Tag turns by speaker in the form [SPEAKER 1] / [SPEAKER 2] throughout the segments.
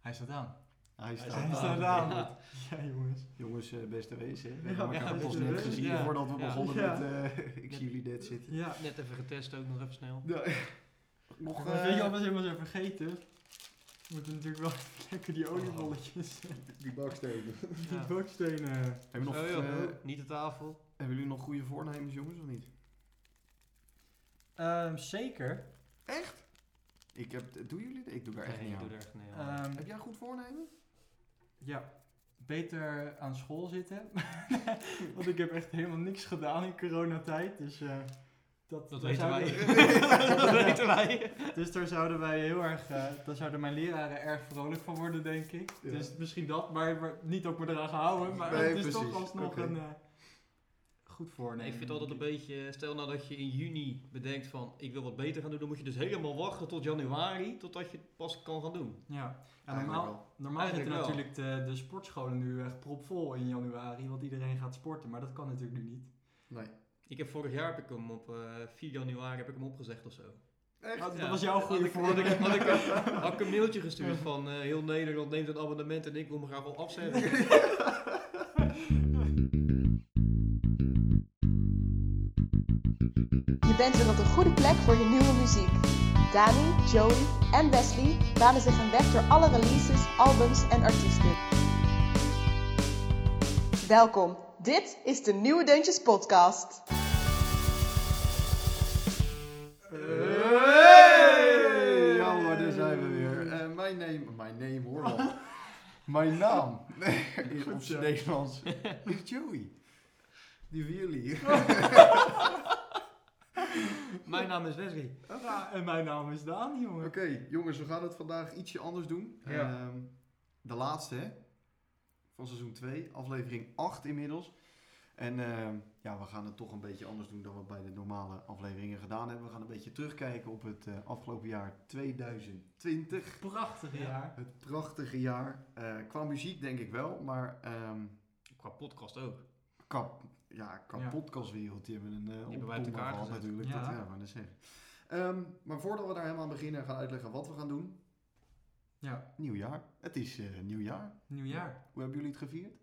[SPEAKER 1] Hij staat aan.
[SPEAKER 2] Hij
[SPEAKER 3] Hij
[SPEAKER 2] staat,
[SPEAKER 3] staat
[SPEAKER 2] aan.
[SPEAKER 3] aan.
[SPEAKER 1] Ja.
[SPEAKER 3] Ja, jongens.
[SPEAKER 2] Jongens, eh, beste wezen. hè. We
[SPEAKER 3] Ja,
[SPEAKER 2] hebben elkaar
[SPEAKER 1] ja,
[SPEAKER 2] pas
[SPEAKER 1] beste
[SPEAKER 2] net
[SPEAKER 1] wezen.
[SPEAKER 2] gezien
[SPEAKER 1] Ja.
[SPEAKER 2] voordat we
[SPEAKER 1] Ja.
[SPEAKER 2] begonnen
[SPEAKER 3] Ja.
[SPEAKER 2] met eh, Ik zie jullie dead zitten.
[SPEAKER 3] Ja.
[SPEAKER 1] Net even getest ook nog even snel.
[SPEAKER 2] Nog,
[SPEAKER 3] Maar weet je
[SPEAKER 2] eh,
[SPEAKER 3] wat we helemaal zijn vergeten? We moeten natuurlijk wel lekker die
[SPEAKER 2] Oh,
[SPEAKER 3] oliebolletjes en
[SPEAKER 2] die bakstenen.
[SPEAKER 3] die bakstenen.
[SPEAKER 2] Hebben, nog,
[SPEAKER 1] Zo, Oh, joh.
[SPEAKER 2] eh,
[SPEAKER 1] Niet de tafel.
[SPEAKER 2] hebben jullie nog goede voornemens, jongens, of niet?
[SPEAKER 3] Ehm, zeker.
[SPEAKER 2] Ik heb, doen jullie dit? Ik doe daar echt
[SPEAKER 1] Nee,
[SPEAKER 2] niet
[SPEAKER 1] ik doe
[SPEAKER 2] aan.
[SPEAKER 1] er echt nee. aan.
[SPEAKER 3] Ehm,
[SPEAKER 2] Heb jij een goed voornemen?
[SPEAKER 3] ja, beter aan school zitten. Want ik heb echt helemaal niks gedaan in coronatijd. Dus eh, dat,
[SPEAKER 1] Dat
[SPEAKER 3] daar
[SPEAKER 1] weten wij.
[SPEAKER 3] zouden-
[SPEAKER 1] Dat weten wij.
[SPEAKER 3] Dus daar zouden wij heel erg, eh, daar zouden mijn leraren erg vrolijk van worden, denk ik.
[SPEAKER 2] Ja.
[SPEAKER 3] Dus misschien dat, maar, maar niet ook me eraan gehouden. Maar
[SPEAKER 2] Nee,
[SPEAKER 3] het is
[SPEAKER 2] precies.
[SPEAKER 3] toch alsnog
[SPEAKER 2] Oké.
[SPEAKER 3] een eh, goed voornemen.
[SPEAKER 1] Ik vind altijd een beetje, stel nou dat je in juni bedenkt van ik wil wat beter gaan doen, dan moet je dus helemaal wachten tot januari, totdat je het pas kan gaan doen.
[SPEAKER 3] Ja, ja
[SPEAKER 2] Eigenlijk
[SPEAKER 3] normaal,
[SPEAKER 2] wel.
[SPEAKER 3] Normaal zitten
[SPEAKER 1] Eigenlijk wel.
[SPEAKER 3] natuurlijk de, de sportscholen nu echt propvol in januari, want iedereen gaat sporten, maar dat kan natuurlijk nu niet.
[SPEAKER 2] Nee.
[SPEAKER 1] Ik heb vorig jaar heb ik hem op eh 4 januari heb ik hem opgezegd of zo.
[SPEAKER 2] Echt?
[SPEAKER 3] Oh, dat
[SPEAKER 1] Ja.
[SPEAKER 3] was jouw
[SPEAKER 1] Had
[SPEAKER 3] goede
[SPEAKER 1] ik- had ik- had
[SPEAKER 3] voorbeeld.
[SPEAKER 1] ik- Had ik een mailtje gestuurd van eh, heel Nederland neemt een abonnement en ik wil me graag wel afzetten.
[SPEAKER 4] Je bent weer op een goede plek voor je nieuwe muziek. Dani, Jody en Wesley banen zich een weg door alle releases, albums en artiesten. Welkom, dit is de Nieuwe Deuntjes Podcast.
[SPEAKER 2] Hey! Ja hoor, daar zijn we weer. Eh, mijn name, mijn name hoor al. mijn naam is op
[SPEAKER 3] zo.
[SPEAKER 2] zijn Nederlands is Joey. Die van jullie.
[SPEAKER 1] Mijn naam is Wesley.
[SPEAKER 3] Ja, en mijn naam is Daan, jongen.
[SPEAKER 2] Oké, jongens, we gaan het vandaag ietsje anders doen.
[SPEAKER 1] Ja.
[SPEAKER 2] Ehm, de laatste, hè? Van seizoen 2, aflevering 8 inmiddels. En ehm, ja, we gaan het toch een beetje anders doen dan we bij de normale afleveringen gedaan hebben. We gaan een beetje terugkijken op het eh, afgelopen jaar 2020.
[SPEAKER 3] Prachtig
[SPEAKER 1] Ja.
[SPEAKER 3] jaar.
[SPEAKER 2] Het prachtige jaar. Eh, qua muziek denk ik wel, maar ehm
[SPEAKER 1] Qua podcast ook.
[SPEAKER 2] qua, ja, qua
[SPEAKER 3] Ja.
[SPEAKER 2] podcastwereld, die hebben een eh
[SPEAKER 1] Die hebben wij uit
[SPEAKER 2] opdonder
[SPEAKER 1] elkaar
[SPEAKER 2] gehad
[SPEAKER 1] gezet.
[SPEAKER 2] natuurlijk.
[SPEAKER 3] Ja.
[SPEAKER 2] Dat, ja, maar dat zeggen. Ehm, maar voordat we daar helemaal aan beginnen en gaan uitleggen wat we gaan doen.
[SPEAKER 3] Ja,
[SPEAKER 2] Nieuw jaar. Het is eh nieuw jaar.
[SPEAKER 3] nieuw jaar.
[SPEAKER 2] Hoe hebben jullie het gevierd?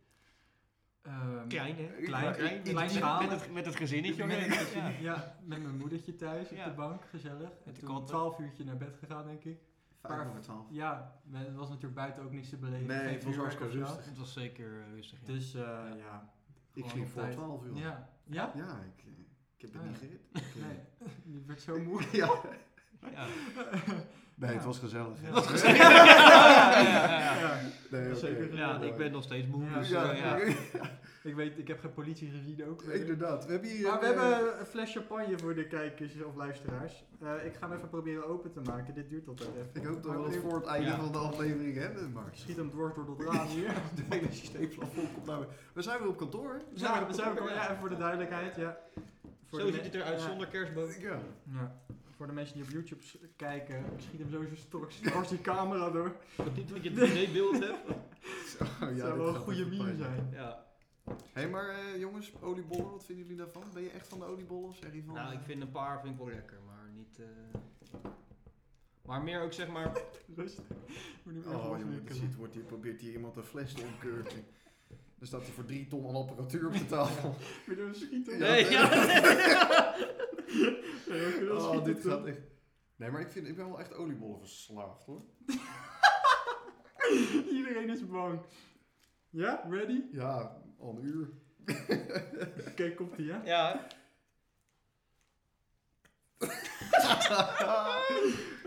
[SPEAKER 3] Ehm,
[SPEAKER 1] Klein hè?
[SPEAKER 3] Klein,
[SPEAKER 2] klein,
[SPEAKER 1] Met-
[SPEAKER 3] kleinschalig.
[SPEAKER 1] met, het, met het gezinnetje.
[SPEAKER 3] met,
[SPEAKER 1] hoor.
[SPEAKER 3] ja. met mijn moedertje thuis op
[SPEAKER 1] Ja.
[SPEAKER 3] de bank, gezellig. En
[SPEAKER 1] de
[SPEAKER 3] toen om
[SPEAKER 1] katten.
[SPEAKER 3] twaalf uurtje naar bed gegaan, denk ik.
[SPEAKER 2] Vijf
[SPEAKER 3] Paar-
[SPEAKER 2] over twaalf.
[SPEAKER 3] Ja, maar het was natuurlijk buiten ook niks te beleven.
[SPEAKER 2] Nee,
[SPEAKER 3] geen
[SPEAKER 2] het was
[SPEAKER 3] vuurwerk
[SPEAKER 2] hartstikke
[SPEAKER 3] of zo.
[SPEAKER 2] rustig.
[SPEAKER 1] Het was zeker eh, rustig. ja.
[SPEAKER 3] Dus eh, ja.
[SPEAKER 2] Ik
[SPEAKER 3] gewoon
[SPEAKER 2] ging
[SPEAKER 3] op
[SPEAKER 2] voor
[SPEAKER 3] tijd.
[SPEAKER 2] twaalf uur.
[SPEAKER 3] Ja. Ja?
[SPEAKER 2] Ja, ik, eh, ik heb het
[SPEAKER 3] Ah,
[SPEAKER 2] niet
[SPEAKER 3] ja.
[SPEAKER 2] gered. Ik, eh,
[SPEAKER 3] Nee, je werd zo moe.
[SPEAKER 2] ja.
[SPEAKER 1] Ja.
[SPEAKER 2] Nee, het
[SPEAKER 3] Ja.
[SPEAKER 2] was gezellig. hè?
[SPEAKER 3] Ja.
[SPEAKER 1] Dat gezegd. ja, ja, ja, ja.
[SPEAKER 2] Nee,
[SPEAKER 3] was
[SPEAKER 2] oké.
[SPEAKER 3] zeker
[SPEAKER 1] Ja, ik ben nog steeds moe.
[SPEAKER 3] Ja.
[SPEAKER 1] dus,
[SPEAKER 2] Ja,
[SPEAKER 1] eh, ja.
[SPEAKER 3] Ik weet, ik heb geen politie gezien ook.
[SPEAKER 2] inderdaad. We hebben hier
[SPEAKER 3] Maar we
[SPEAKER 2] een, eh,
[SPEAKER 3] hebben een fles champagne voor de kijkers of luisteraars. Eh, ik ga hem even proberen open te maken. Dit duurt altijd even.
[SPEAKER 2] Ik hoop dat we
[SPEAKER 3] Maar
[SPEAKER 2] dat voor het einde
[SPEAKER 1] Ja.
[SPEAKER 2] van de aflevering hebben, maar...
[SPEAKER 3] Ik schiet hem dwars door dat raam hier.
[SPEAKER 2] De hele systeemplafond komt naar me. We zijn weer op kantoor, hè?
[SPEAKER 3] Zo,
[SPEAKER 1] Ja,
[SPEAKER 3] zo,
[SPEAKER 1] ja.
[SPEAKER 3] ja, even voor de duidelijkheid. Ja. Voor
[SPEAKER 1] Zo
[SPEAKER 3] de
[SPEAKER 1] ziet
[SPEAKER 3] me-
[SPEAKER 1] het eruit
[SPEAKER 3] ja.
[SPEAKER 1] zonder kerstboom.
[SPEAKER 2] Ja.
[SPEAKER 3] Ja. Voor de mensen die op YouTube s- kijken, ik schiet hem sowieso straks dwars die camera door.
[SPEAKER 1] Dat niet dat je het 3D-beeld hebt.
[SPEAKER 2] Zo, ja,
[SPEAKER 3] Dat
[SPEAKER 2] Oh dit
[SPEAKER 3] zou wel een
[SPEAKER 2] gaat
[SPEAKER 3] goede
[SPEAKER 2] even
[SPEAKER 3] meme
[SPEAKER 2] pijn.
[SPEAKER 3] zijn.
[SPEAKER 1] Ja.
[SPEAKER 2] Hé, hey, maar eh, jongens, oliebollen, wat vinden jullie daarvan? Ben je echt van de oliebollen of zeg je van... eh?
[SPEAKER 1] Nou, ik vind een paar vind ik wel lekker, maar niet... eh, Maar meer ook zeg maar...
[SPEAKER 3] Rustig. Ik Moet nu even
[SPEAKER 2] Oh, jongen, dit
[SPEAKER 3] afwikkelen.
[SPEAKER 2] shit wordt hier, probeert hier iemand een fles te omkurken. Dan staat hij voor drie ton aan apparatuur op de tafel.
[SPEAKER 3] Ik Moet even schieten.
[SPEAKER 2] Ja.
[SPEAKER 1] Nee, ja.
[SPEAKER 3] Ja, we kunnen wel
[SPEAKER 2] Oh,
[SPEAKER 3] schieten,
[SPEAKER 2] dit
[SPEAKER 3] toch?
[SPEAKER 2] gaat echt... Nee, maar ik, vind, ik ben wel echt oliebollen verslaafd, hoor.
[SPEAKER 3] Iedereen is bang. Ja, ready?
[SPEAKER 2] Ja, al een uur.
[SPEAKER 3] Oké, komt ie, ja?
[SPEAKER 1] Ja.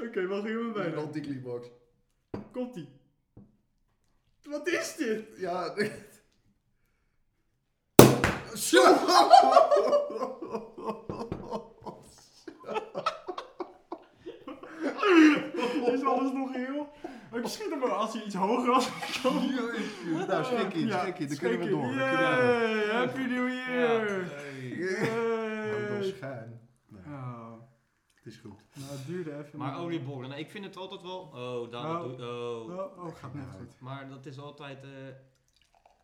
[SPEAKER 3] Oké, wacht even
[SPEAKER 2] En
[SPEAKER 3] bijna.
[SPEAKER 2] dan die Gleebox.
[SPEAKER 3] Komt ie. Wat is dit?
[SPEAKER 2] Ja. Zo!
[SPEAKER 3] Is alles nog heel? Maar ik schiet hem wel als hij iets hoger was.
[SPEAKER 2] Nou, schrik in,
[SPEAKER 3] Ja,
[SPEAKER 2] schrik in. Dan
[SPEAKER 3] schrik
[SPEAKER 2] kunnen we
[SPEAKER 3] in.
[SPEAKER 2] door. Dan kunnen we door.
[SPEAKER 3] Yay, happy new year.
[SPEAKER 2] Nou, dat is
[SPEAKER 3] Yay.
[SPEAKER 2] schijn. Nee,
[SPEAKER 3] Oh,
[SPEAKER 2] het is goed.
[SPEAKER 3] nou, het duurde even.
[SPEAKER 1] Maar oliebollen, nee, ik vind het altijd wel... Oh, daar
[SPEAKER 3] Oh.
[SPEAKER 1] Oh.
[SPEAKER 3] Oh, oh, gaat net goed.
[SPEAKER 1] Maar dat is altijd... eh,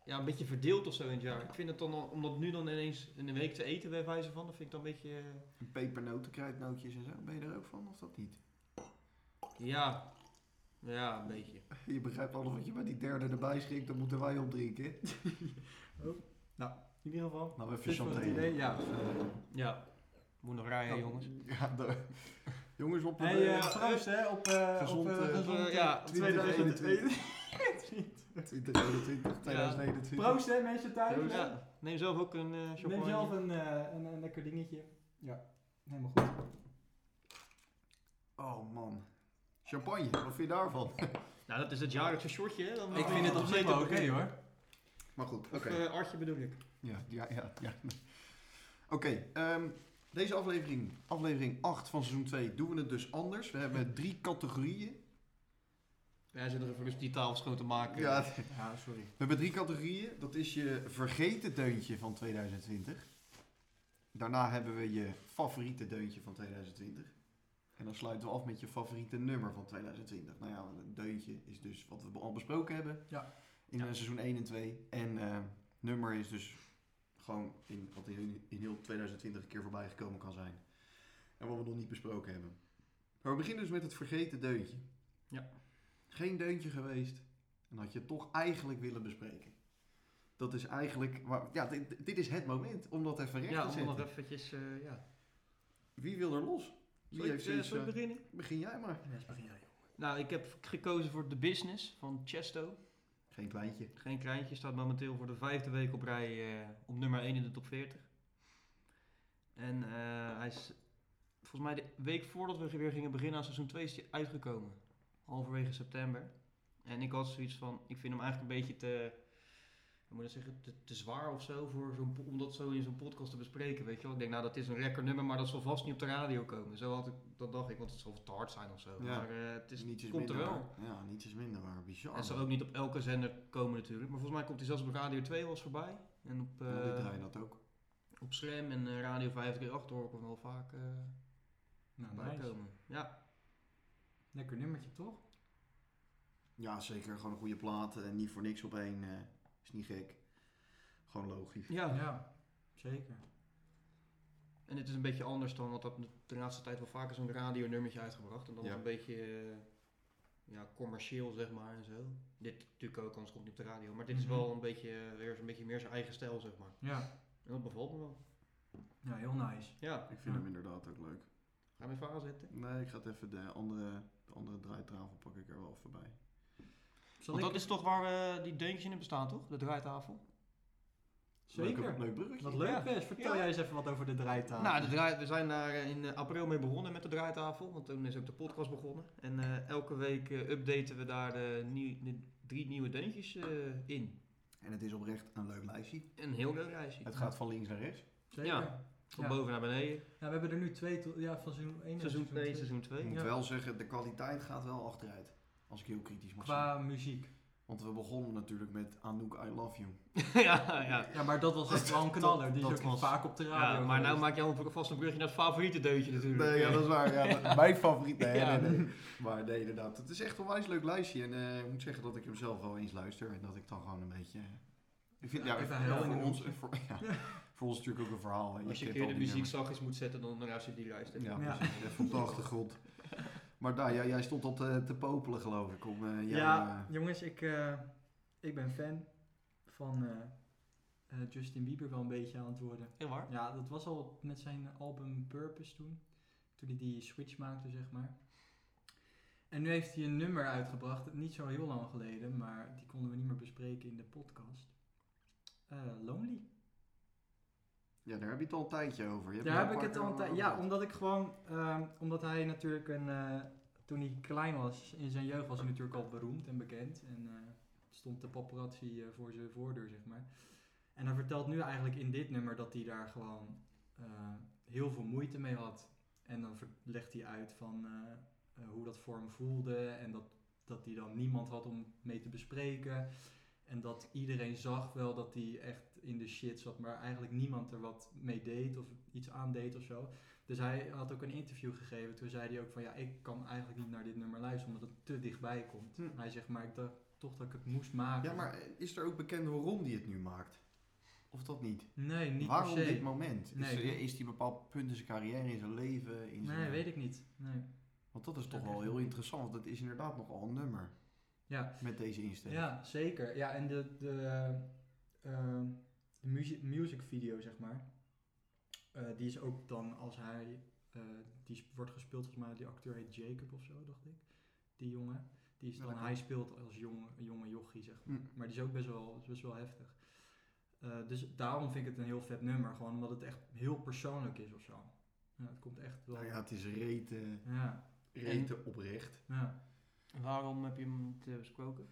[SPEAKER 1] Ja, een beetje verdeeld of zo in het jaar. Ik vind het dan, al- om dat nu dan ineens in een week te eten bij wijze van, dat vind ik dan een beetje... eh,
[SPEAKER 2] En Pepernoten, kruidnootjes en zo. Ben je er ook van of dat niet?
[SPEAKER 1] Ja, Ja, een beetje.
[SPEAKER 2] Je begrijpt alles wat je bij die derde erbij schikt, dat moeten wij opdrinken.
[SPEAKER 3] In ieder geval.
[SPEAKER 2] Nou, even
[SPEAKER 3] dit was het idee,
[SPEAKER 2] champagne.
[SPEAKER 3] ja.
[SPEAKER 1] Ja. Moet nog rijden,
[SPEAKER 2] Nou,
[SPEAKER 1] jongens.
[SPEAKER 2] Ja, daar- jongens, op
[SPEAKER 3] Hey,
[SPEAKER 2] eh,
[SPEAKER 3] eh, proost hè, op, eh
[SPEAKER 2] gezond,
[SPEAKER 3] op eh,
[SPEAKER 2] eh,
[SPEAKER 3] gezond,
[SPEAKER 1] eh,
[SPEAKER 3] eh,
[SPEAKER 1] ja,
[SPEAKER 3] 2021.
[SPEAKER 2] 2021, 2021.
[SPEAKER 3] Proost hè, mensen thuis.
[SPEAKER 1] Proost.
[SPEAKER 3] hè.
[SPEAKER 1] Ja, neem zelf ook een eh champagne.
[SPEAKER 3] Neem zelf een, eh, een, een lekker dingetje. Ja, helemaal goed.
[SPEAKER 2] Oh man. Champagne, wat vind je daarvan?
[SPEAKER 1] Nou, dat is het jaarlijkse shortje, hè? Dan
[SPEAKER 3] Ik vind het op zich wel oké, hoor.
[SPEAKER 2] Maar goed, oké.
[SPEAKER 1] Of eh, Artje bedoel ik.
[SPEAKER 2] Ja, ja, ja. ja. Oké, ehm, deze aflevering, aflevering 8 van seizoen 2, doen we het dus anders. We hebben drie categorieën.
[SPEAKER 1] Wij zijn er even rustig die tafel schoon te maken.
[SPEAKER 2] Ja,
[SPEAKER 3] Ja, sorry.
[SPEAKER 2] We hebben drie categorieën. Dat is je vergeten deuntje van 2020. Daarna hebben we je favoriete deuntje van 2020. En dan sluiten we af met je favoriete nummer van 2020. Nou ja, een deuntje is dus wat we al besproken hebben
[SPEAKER 3] Ja.
[SPEAKER 2] in eh, seizoen 1 en 2. En eh, nummer is dus gewoon in, wat in, in heel 2020 een keer voorbij gekomen kan zijn. En wat we nog niet besproken hebben. Maar we beginnen dus met het vergeten deuntje.
[SPEAKER 1] Ja.
[SPEAKER 2] Geen deuntje geweest. En had je het toch eigenlijk willen bespreken. Dat is eigenlijk... waar- ja, dit, dit is het moment om dat even recht
[SPEAKER 1] ja
[SPEAKER 2] te
[SPEAKER 1] om nog
[SPEAKER 2] zetten.
[SPEAKER 1] eventjes, eh, ja.
[SPEAKER 2] Wie wil er los? Wie
[SPEAKER 1] Zal ik,
[SPEAKER 2] heeft
[SPEAKER 1] eh,
[SPEAKER 2] zoiets,
[SPEAKER 1] zal ik
[SPEAKER 2] eh,
[SPEAKER 1] beginnen?
[SPEAKER 2] Begin jij maar.
[SPEAKER 1] Nou, ik heb gekozen voor The Business van Chesto.
[SPEAKER 2] Geen kleintje.
[SPEAKER 1] Geen kleintje, staat momenteel voor de vijfde week op rij eh, op nummer 1 in de top 40. En eh, hij is volgens mij de week voordat we weer gingen beginnen aan seizoen 2 is hij uitgekomen. Halverwege september. En ik had zoiets van, ik vind hem eigenlijk een beetje te, hoe moet ik dat zeggen, te, te zwaar of zo voor zo'n, po- om dat zo in zo'n podcast te bespreken. Weet je wel? Ik denk, nou dat is een lekker nummer, maar dat zal vast niet op de radio komen. Zo had ik, dat dacht ik, want het zal te hard zijn of zo.
[SPEAKER 2] Ja.
[SPEAKER 1] Maar eh, het is,
[SPEAKER 2] niets is
[SPEAKER 1] komt er
[SPEAKER 2] minder
[SPEAKER 1] wel.
[SPEAKER 2] waar. Ja, niets is minder waar. Bizar.
[SPEAKER 1] Het zal ook niet op elke zender komen natuurlijk. Maar volgens mij komt hij zelfs op Radio 2 wel eens voorbij. En op, eh,
[SPEAKER 2] Ja, dit draai dat ook.
[SPEAKER 1] op Slam en eh, Radio 538 hoor ik hem wel vaak eh
[SPEAKER 3] Nou,
[SPEAKER 1] voorbij
[SPEAKER 3] nice.
[SPEAKER 1] komen. Ja,
[SPEAKER 3] Lekker nummertje, toch?
[SPEAKER 2] Ja, zeker. Gewoon een goede plaat. En niet voor niks op één. eh, is niet gek. Gewoon logisch.
[SPEAKER 1] ja.
[SPEAKER 3] Ja, zeker.
[SPEAKER 1] en het is een beetje anders dan, want dat de laatste tijd wel vaker zo'n radionummertje uitgebracht. En dan
[SPEAKER 2] Ja.
[SPEAKER 1] een beetje eh, ja, commercieel zeg maar en zo. Dit natuurlijk ook, anders komt hij op de radio. Maar dit
[SPEAKER 3] Mhm.
[SPEAKER 1] is wel een beetje, eh, weer een beetje meer zijn eigen stijl zeg maar.
[SPEAKER 3] Ja,
[SPEAKER 1] En dat bevalt me wel.
[SPEAKER 3] ja heel nice.
[SPEAKER 1] Ja,
[SPEAKER 2] Ik vind
[SPEAKER 3] Ja.
[SPEAKER 2] hem inderdaad ook leuk.
[SPEAKER 1] ga hem even aanzetten.
[SPEAKER 2] Nee, ik ga het even de andere, de andere draaitafel pak ik er wel even bij.
[SPEAKER 3] Zal
[SPEAKER 1] Want
[SPEAKER 3] ik-
[SPEAKER 1] dat is toch waar eh, die deuntjes in bestaan toch? De draaitafel?
[SPEAKER 3] Zeker.
[SPEAKER 2] Leuk, leuk bruggetje.
[SPEAKER 3] Wat leuk
[SPEAKER 1] Ja.
[SPEAKER 3] Wes. Vertel
[SPEAKER 1] Ja.
[SPEAKER 3] jij eens even wat over de draaitafel.
[SPEAKER 1] Nou, de draai, we zijn daar eh, in eh, april mee begonnen met de draaitafel, want toen is ook de podcast begonnen. En eh, elke week eh, updaten we daar de, nieuw- de drie nieuwe deuntjes eh, in.
[SPEAKER 2] En het is oprecht een leuk lijstje.
[SPEAKER 1] Een heel leuk reisje.
[SPEAKER 2] Het gaat van links naar rechts.
[SPEAKER 3] Zeker.
[SPEAKER 1] ja. Van
[SPEAKER 3] ja.
[SPEAKER 1] boven naar beneden.
[SPEAKER 3] Ja, we hebben er nu twee, to- ja, van seizoen 1
[SPEAKER 1] Seizoen 1, seizoen
[SPEAKER 2] Ik
[SPEAKER 1] 2.
[SPEAKER 2] moet
[SPEAKER 3] Ja.
[SPEAKER 2] wel zeggen, de kwaliteit gaat wel achteruit. Als ik heel kritisch mag zijn.
[SPEAKER 3] Qua muziek.
[SPEAKER 2] Want we begonnen natuurlijk met Anouk I Love You.
[SPEAKER 1] ja, ja.
[SPEAKER 3] Ja, maar dat was echt wel een knaller. Die
[SPEAKER 2] dat
[SPEAKER 3] is ook
[SPEAKER 2] was-
[SPEAKER 3] vaak op de radio.
[SPEAKER 1] ja, maar nou
[SPEAKER 3] geweest.
[SPEAKER 1] maak jij al vast een brugje naar het favoriete deuntje natuurlijk.
[SPEAKER 2] Nee, ja, dat is waar. Ja, Mijn favoriet. Nee,
[SPEAKER 1] Ja.
[SPEAKER 2] nee, nee. Maar nee, inderdaad. Het is echt een wijs leuk lijstje. En eh, ik moet zeggen dat ik hem zelf wel eens luister. En dat ik dan gewoon een beetje... eh, Ik vind, ja,
[SPEAKER 3] Even
[SPEAKER 2] ja,
[SPEAKER 3] heel in
[SPEAKER 2] voor,
[SPEAKER 3] een
[SPEAKER 2] ons, eh,
[SPEAKER 3] hoekje.
[SPEAKER 2] voor, ja, voor ons natuurlijk ook een verhaal. hè.
[SPEAKER 1] Als je een
[SPEAKER 2] kent
[SPEAKER 1] keer
[SPEAKER 2] al
[SPEAKER 1] de
[SPEAKER 2] die
[SPEAKER 1] muziek zachtjes moet zetten, dan luister je die
[SPEAKER 2] nummers.
[SPEAKER 1] luister.
[SPEAKER 2] Ja,
[SPEAKER 3] Ja.
[SPEAKER 2] precies. Even op de achtergrond. Maar daar, jij, jij stond al te, te popelen geloof ik. Om, eh, jouw,
[SPEAKER 3] Ja,
[SPEAKER 2] eh,
[SPEAKER 3] jongens, ik, eh, ik ben fan van eh, eh, Justin Bieber wel een beetje aan het worden.
[SPEAKER 1] Heel waar.
[SPEAKER 3] Ja, dat was al met zijn album Purpose toen. Toen hij die switch maakte, zeg maar. En nu heeft hij een nummer uitgebracht, niet zo heel lang geleden, maar die konden we niet meer bespreken in de podcast. Eh, Lonely.
[SPEAKER 2] ja, daar heb je het al een tijdje over. Je hebt
[SPEAKER 3] Daar
[SPEAKER 2] er
[SPEAKER 3] heb ik
[SPEAKER 2] een
[SPEAKER 3] het
[SPEAKER 2] paar
[SPEAKER 3] al een
[SPEAKER 2] keer
[SPEAKER 3] tijd.
[SPEAKER 2] over
[SPEAKER 3] Ja,
[SPEAKER 2] gehad.
[SPEAKER 3] omdat ik gewoon. ehm, omdat hij natuurlijk een. eh, toen hij klein was, in zijn jeugd was hij natuurlijk al beroemd en bekend. En eh, stond de paparazzi eh, voor zijn voordeur, zeg maar. En hij vertelt nu eigenlijk in dit nummer dat hij daar gewoon eh, heel veel moeite mee had. En dan ver- legt hij uit van eh, eh, hoe dat voor hem voelde. En dat, dat hij dan niemand had om mee te bespreken. En dat iedereen zag wel dat hij echt in de shit zat, maar eigenlijk niemand er wat mee deed of iets aan deed of zo. Dus hij had ook een interview gegeven. Toen zei hij ook van ja, ik kan eigenlijk niet naar dit nummer luisteren omdat het te dichtbij komt.
[SPEAKER 2] Hm.
[SPEAKER 3] Hij zegt maar ik dacht toch dat ik het moest maken.
[SPEAKER 2] Ja, maar eh, is er ook bekend waarom die het nu maakt? Of dat niet?
[SPEAKER 3] nee, niet
[SPEAKER 2] Waarom
[SPEAKER 3] per se.
[SPEAKER 2] dit moment? Is,
[SPEAKER 3] Nee.
[SPEAKER 2] er- is die bepaald punt in zijn carrière, in zijn leven? In zijn...
[SPEAKER 3] nee, weet ik niet. Nee.
[SPEAKER 2] Want dat is toch
[SPEAKER 3] Dat
[SPEAKER 2] wel
[SPEAKER 3] is
[SPEAKER 2] heel
[SPEAKER 3] mooi.
[SPEAKER 2] interessant, want het is inderdaad nogal een nummer
[SPEAKER 3] Ja.
[SPEAKER 2] met deze insteek.
[SPEAKER 3] Ja, zeker. Ja, en de, de, ehm, de music, music video, zeg maar. eh, die is ook dan als hij. eh, die is- wordt gespeeld, volgens mij, die acteur heet Jacob of zo, dacht ik. Die jongen. Die is dan,
[SPEAKER 2] Welke?
[SPEAKER 3] hij speelt als jonge, jonge jochie, zeg maar.
[SPEAKER 2] Mm.
[SPEAKER 3] Maar die is ook best wel, is best wel heftig. Eh, dus daarom vind ik het een heel vet nummer. Gewoon omdat het echt heel persoonlijk is of zo. Ja, het komt echt wel.
[SPEAKER 2] Nou ja, het is rete,
[SPEAKER 3] ja,
[SPEAKER 2] rete oprecht.
[SPEAKER 3] ja.
[SPEAKER 1] En waarom heb je hem niet eh, besproken?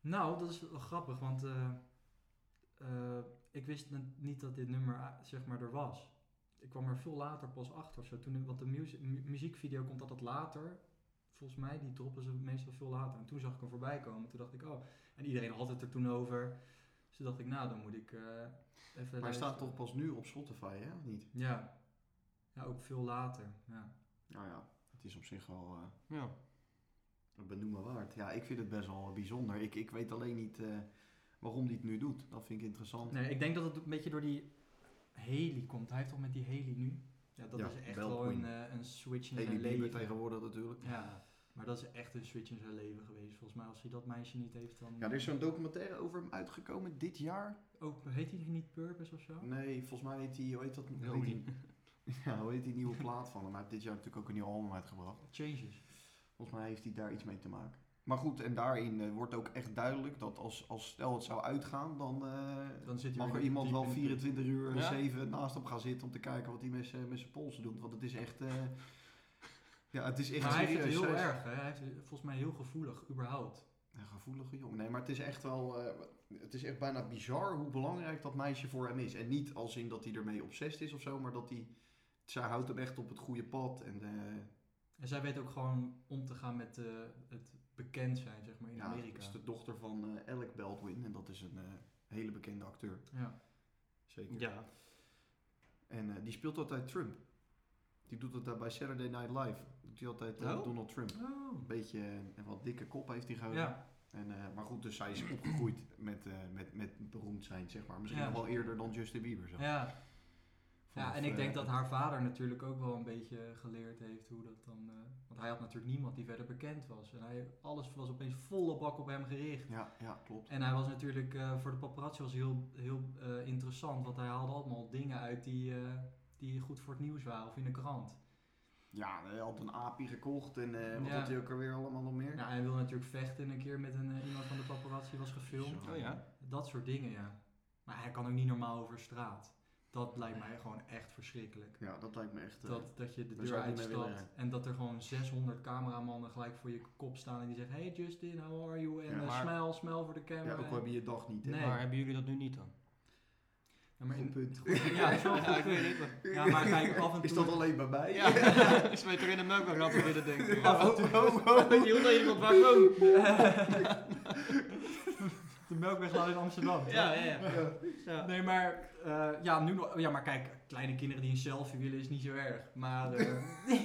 [SPEAKER 3] Nou, dat is wel grappig, want eh, eh, ik wist n- niet dat dit nummer eh, zeg maar er was. Ik kwam er veel later pas achter of zo. Toen, want de muzie- mu- muziekvideo komt altijd later. Volgens mij, die droppen ze meestal veel later. En toen zag ik hem voorbij komen. Toen dacht ik, oh. En iedereen had het er toen over. Dus toen dacht ik, nou, dan moet ik eh, even...
[SPEAKER 2] Maar hij staat
[SPEAKER 3] luisteren.
[SPEAKER 2] toch pas nu op Spotify, hè? Of niet?
[SPEAKER 3] Ja. Ja, ook veel later. Ja.
[SPEAKER 2] Nou ja, het is op zich wel eh
[SPEAKER 1] Ja.
[SPEAKER 2] benoemen waard. Ja, ik vind het best wel bijzonder. Ik, ik weet alleen niet eh, waarom die het nu doet. Dat vind ik interessant.
[SPEAKER 3] Nee, ik denk dat het een beetje door die Haley komt. Hij heeft toch met die Haley nu? Ja, dat
[SPEAKER 2] Ja,
[SPEAKER 3] is echt
[SPEAKER 2] Bell
[SPEAKER 3] wel een,
[SPEAKER 2] Queen.
[SPEAKER 3] eh, een switch in
[SPEAKER 2] Haley
[SPEAKER 3] zijn
[SPEAKER 2] Bieber
[SPEAKER 3] leven.
[SPEAKER 2] tegenwoordig natuurlijk.
[SPEAKER 3] Ja, maar dat is echt een switch in zijn leven geweest. Volgens mij, als hij dat meisje niet heeft, dan.
[SPEAKER 2] Ja, er is zo'n documentaire over hem uitgekomen dit jaar.
[SPEAKER 3] Ook, Oh, heet hij niet Purpose of zo?
[SPEAKER 2] Nee, volgens mij heet hij, hoe heet dat? Hoe heet
[SPEAKER 1] Holy.
[SPEAKER 2] die, ja, hoe heet die nieuwe plaat van hem? Hij heeft dit jaar natuurlijk ook een nieuw album uitgebracht.
[SPEAKER 3] Changes.
[SPEAKER 2] Volgens mij heeft hij daar iets mee te maken. Maar goed, en daarin eh, wordt ook echt duidelijk dat als, als stel het zou uitgaan, dan, eh,
[SPEAKER 3] Dan zit hij
[SPEAKER 2] mag
[SPEAKER 3] weer
[SPEAKER 2] er
[SPEAKER 3] diep
[SPEAKER 2] iemand
[SPEAKER 3] in
[SPEAKER 2] wel
[SPEAKER 3] de put.
[SPEAKER 2] 24 uur en
[SPEAKER 1] Ja.
[SPEAKER 2] 7 naast hem gaan zitten om te kijken wat hij met zijn met zijn polsen doet. Want het is echt... eh, ja, het is echt
[SPEAKER 3] maar hij heeft het
[SPEAKER 2] serieus.
[SPEAKER 3] heel
[SPEAKER 2] Zij is
[SPEAKER 3] erg, hè? Hij heeft het volgens mij heel gevoelig, überhaupt.
[SPEAKER 2] Een gevoelige jongen. Nee, maar het is echt wel... eh, het is echt bijna bizar hoe belangrijk dat meisje voor hem is. En niet als in dat hij ermee obsessed is of zo, maar dat hij... Zij houdt hem echt op het goede pad. En eh,
[SPEAKER 3] En zij weet ook gewoon om te gaan met eh, het bekend zijn, zeg maar, in
[SPEAKER 2] ja,
[SPEAKER 3] Amerika.
[SPEAKER 2] het is de dochter van eh, Alec Baldwin. En dat is een eh, hele bekende acteur.
[SPEAKER 3] Ja.
[SPEAKER 2] Zeker.
[SPEAKER 1] Ja.
[SPEAKER 2] En eh, die speelt altijd Trump. Die doet altijd bij Saturday Night Live. Doet hij altijd eh,
[SPEAKER 1] Oh.
[SPEAKER 2] Donald Trump.
[SPEAKER 3] Oh.
[SPEAKER 2] Een beetje eh, een wat dikke kop heeft hij gehouden.
[SPEAKER 3] Ja,
[SPEAKER 2] En, eh, maar goed, dus zij is opgegroeid met, eh, met, met beroemd zijn, zeg maar. Misschien
[SPEAKER 3] Ja.
[SPEAKER 2] nog wel eerder dan Justin Bieber. Zo.
[SPEAKER 3] ja.
[SPEAKER 2] Vanaf,
[SPEAKER 3] ja, en ik denk
[SPEAKER 2] eh,
[SPEAKER 3] dat haar vader natuurlijk ook wel een beetje geleerd heeft hoe dat dan... eh, want hij had natuurlijk niemand die verder bekend was. En hij, alles was opeens volle bak op hem gericht.
[SPEAKER 2] Ja, ja, klopt.
[SPEAKER 3] En hij was natuurlijk eh, voor de paparazzi was hij heel, heel eh, interessant, want hij haalde allemaal dingen uit die, eh, die goed voor het nieuws waren of in de krant.
[SPEAKER 2] Ja, hij had een aapje gekocht en eh, wat
[SPEAKER 3] Ja.
[SPEAKER 2] had hij ook alweer allemaal nog meer?
[SPEAKER 3] Nou, hij wilde natuurlijk vechten een keer met een, eh, iemand van de paparazzi was gefilmd.
[SPEAKER 2] Zo.
[SPEAKER 1] Oh ja.
[SPEAKER 3] Dat soort dingen, ja. Maar hij kan ook niet normaal over straat. Dat lijkt mij gewoon echt verschrikkelijk.
[SPEAKER 2] Ja, dat lijkt me echt... eh,
[SPEAKER 3] Dat, dat je de
[SPEAKER 2] Daar zou
[SPEAKER 3] deur
[SPEAKER 2] ik niet mee willen,
[SPEAKER 3] uitstapt en dat er gewoon 600 cameramannen gelijk voor je kop staan en die zeggen: Hey Justin, how are you? En
[SPEAKER 2] Ja,
[SPEAKER 3] eh,
[SPEAKER 1] maar-
[SPEAKER 3] smile, smile voor de camera.
[SPEAKER 2] ja, ook al heb je je dag niet, hè?
[SPEAKER 3] Nee.
[SPEAKER 1] Maar hebben jullie dat nu niet dan?
[SPEAKER 3] Ja, maar in-
[SPEAKER 2] Goed punt.
[SPEAKER 3] Ja, dat is wel een goed
[SPEAKER 1] ik weet
[SPEAKER 3] punt.
[SPEAKER 1] het. maar-
[SPEAKER 3] Ja, maar kijk, af en toe.
[SPEAKER 2] Is dat alleen bij mij?
[SPEAKER 1] Ja, ik weet er in de melkweg ratten willen denken.
[SPEAKER 2] Oh,
[SPEAKER 1] Ja.
[SPEAKER 2] oh, oh.
[SPEAKER 1] Weet je hoe dat iemand waar ik woon?
[SPEAKER 3] De melkweg laat in Amsterdam.
[SPEAKER 1] Ja, ja, ja. Ja.
[SPEAKER 3] Nee, maar, eh, ja, nu, nog- ja, maar kijk, kleine kinderen die een selfie willen is niet zo erg. Maar, eh,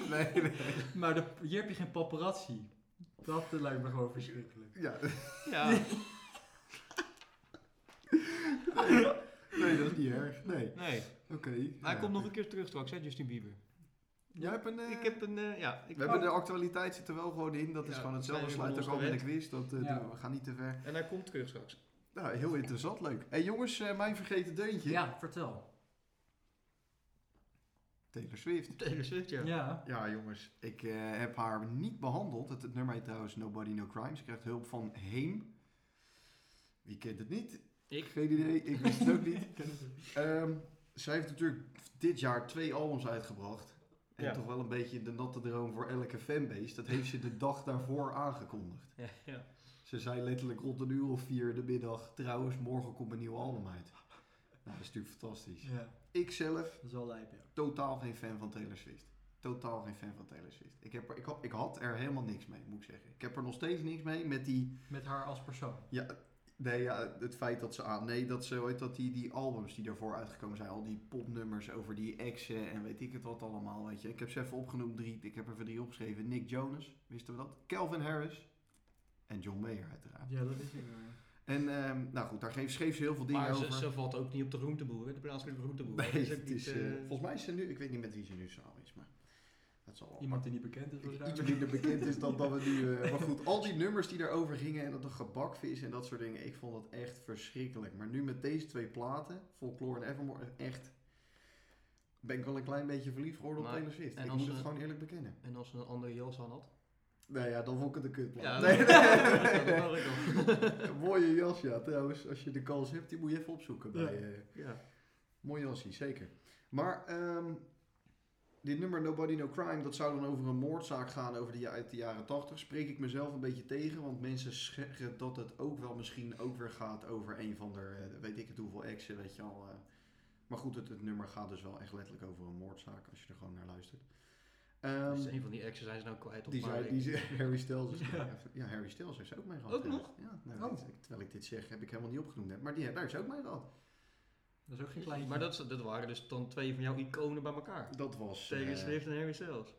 [SPEAKER 2] Nee, nee.
[SPEAKER 3] maar de, hier heb je geen paparazzi. Dat eh, lijkt me gewoon verschrikkelijk.
[SPEAKER 2] Ja,
[SPEAKER 1] Ja.
[SPEAKER 2] nee, dat is niet erg. Nee,
[SPEAKER 1] Nee.
[SPEAKER 2] oké.
[SPEAKER 1] Hij
[SPEAKER 2] Ja.
[SPEAKER 1] komt nog een keer terug straks, hè, Justin Bieber.
[SPEAKER 2] Jij hebt een... eh,
[SPEAKER 1] Ik heb een, eh, ja. Ik
[SPEAKER 2] We hebben de actualiteit zit er wel gewoon in. Dat is
[SPEAKER 1] Ja,
[SPEAKER 2] gewoon hetzelfde.
[SPEAKER 1] dat zijn
[SPEAKER 2] Sluit
[SPEAKER 1] we
[SPEAKER 2] ook al
[SPEAKER 1] ons
[SPEAKER 2] met de quiz. Dat, eh,
[SPEAKER 3] Ja.
[SPEAKER 2] doen we. we gaan niet te ver.
[SPEAKER 1] En hij komt terug straks.
[SPEAKER 2] Nou, heel interessant. Leuk. hey, jongens, eh, mijn vergeten deuntje.
[SPEAKER 3] Ja, vertel.
[SPEAKER 2] Taylor Swift.
[SPEAKER 1] Taylor Swift, ja.
[SPEAKER 3] Ja.
[SPEAKER 2] Ja, jongens. Ik eh, heb haar niet behandeld. Het, het nummer heet trouwens Nobody No Crime. Ze krijgt hulp van Heem. Wie kent het niet?
[SPEAKER 1] Ik.
[SPEAKER 2] Geen idee. Ik wist het ook niet.
[SPEAKER 3] Ik ken het ook.
[SPEAKER 2] Ehm, zij heeft natuurlijk dit jaar twee albums uitgebracht. En
[SPEAKER 1] Ja.
[SPEAKER 2] toch wel een beetje de natte droom voor elke fanbase. Dat heeft ze de dag daarvoor aangekondigd.
[SPEAKER 1] Ja, ja.
[SPEAKER 2] Ze zei letterlijk rond een uur of vier de middag. Trouwens, morgen komt een nieuw album uit. Nou, dat is natuurlijk fantastisch.
[SPEAKER 3] Ja,
[SPEAKER 2] Ik zelf,
[SPEAKER 3] dat is wel lijp, ja.
[SPEAKER 2] totaal geen fan van Taylor Swift. Totaal geen fan van Taylor Swift. Ik, heb er, ik, had, ik had er helemaal niks mee, moet ik zeggen. Ik heb er nog steeds niks mee met die...
[SPEAKER 3] Met haar als persoon.
[SPEAKER 2] Ja, nee, ja, het feit dat ze aan... Nee, dat ze, hoe heet dat, die, die albums die daarvoor uitgekomen zijn. Al die popnummers over die exen en weet ik het wat allemaal, weet je. Ik heb ze even opgenoemd, drie. Ik heb er voor drie opgeschreven. Nick Jonas, wisten we dat? Calvin Harris. En John Mayer, uiteraard.
[SPEAKER 3] Ja, dat is eh, hij wel, ja.
[SPEAKER 2] En ehm, nou goed, daar geef- schreef ze heel veel dingen
[SPEAKER 1] Maar ze,
[SPEAKER 2] over.
[SPEAKER 1] ze valt ook niet op de groenteboer, hè, de plaatselijke groenteboer.
[SPEAKER 2] Nee,
[SPEAKER 1] Dat is ook
[SPEAKER 2] het
[SPEAKER 1] niet,
[SPEAKER 2] is,
[SPEAKER 1] eh,
[SPEAKER 2] eh, volgens mij is ze nu, ik weet niet met wie ze nu samen is, maar Dat zal wel
[SPEAKER 3] Iemand die niet bekend is waarschijnlijk.
[SPEAKER 2] Iets minder bekend is dan dat we nu. eh, maar goed, al die nummers die daarover gingen en dat de gebakvis en dat soort dingen, ik vond het echt verschrikkelijk. Maar nu met deze twee platen, Folklore en Evermore, echt. Ben ik wel een klein beetje verliefd geworden op
[SPEAKER 1] Maar-
[SPEAKER 2] Taylor Swift.
[SPEAKER 1] en
[SPEAKER 2] Ik
[SPEAKER 1] als
[SPEAKER 2] moet het
[SPEAKER 1] ze-
[SPEAKER 2] gewoon eerlijk bekennen.
[SPEAKER 1] En als ze een andere jas aan had.
[SPEAKER 2] Nou ja, dan vond ik het een kutplaat.
[SPEAKER 1] Ja,
[SPEAKER 2] Nee,
[SPEAKER 1] dat-
[SPEAKER 2] nee,
[SPEAKER 1] dat
[SPEAKER 2] nee.
[SPEAKER 1] hoor ik al.
[SPEAKER 2] Een Mooie jas, ja. Trouwens, als je de kans hebt, die moet je even opzoeken.
[SPEAKER 3] Ja.
[SPEAKER 2] Bij, eh,
[SPEAKER 1] ja.
[SPEAKER 2] mooi jasje, zeker. Maar ehm, dit nummer Nobody No Crime, dat zou dan over een moordzaak gaan over de, ja- uit de jaren 80. Spreek ik mezelf een beetje tegen, want mensen zeggen dat het ook wel misschien ook weer gaat over een van de, eh, weet ik het hoeveel exen, weet je al. eh. Maar goed, het, het nummer gaat dus wel echt letterlijk over een moordzaak, als je er gewoon naar luistert. Ehm,
[SPEAKER 1] Dus een van die exen zijn ze nou kwijt op
[SPEAKER 2] die
[SPEAKER 1] maar
[SPEAKER 2] zei,
[SPEAKER 1] ik-
[SPEAKER 2] die zei- Harry Styles. Is
[SPEAKER 3] Ja.
[SPEAKER 2] ja, Harry Styles heeft ze ook mee gehad.
[SPEAKER 1] Ook
[SPEAKER 2] trouwens.
[SPEAKER 1] nog?
[SPEAKER 2] Ja, nou,
[SPEAKER 3] Oh.
[SPEAKER 2] dit- terwijl ik dit zeg, heb ik helemaal niet opgenoemd. Net, maar die, daar heeft ze ook mee gehad.
[SPEAKER 3] Dat is ook geen klein.
[SPEAKER 1] Maar dat, dat waren dus dan twee van jouw iconen bij elkaar.
[SPEAKER 2] Dat was...
[SPEAKER 1] Taylor
[SPEAKER 2] eh,
[SPEAKER 1] Swift en Harry Styles.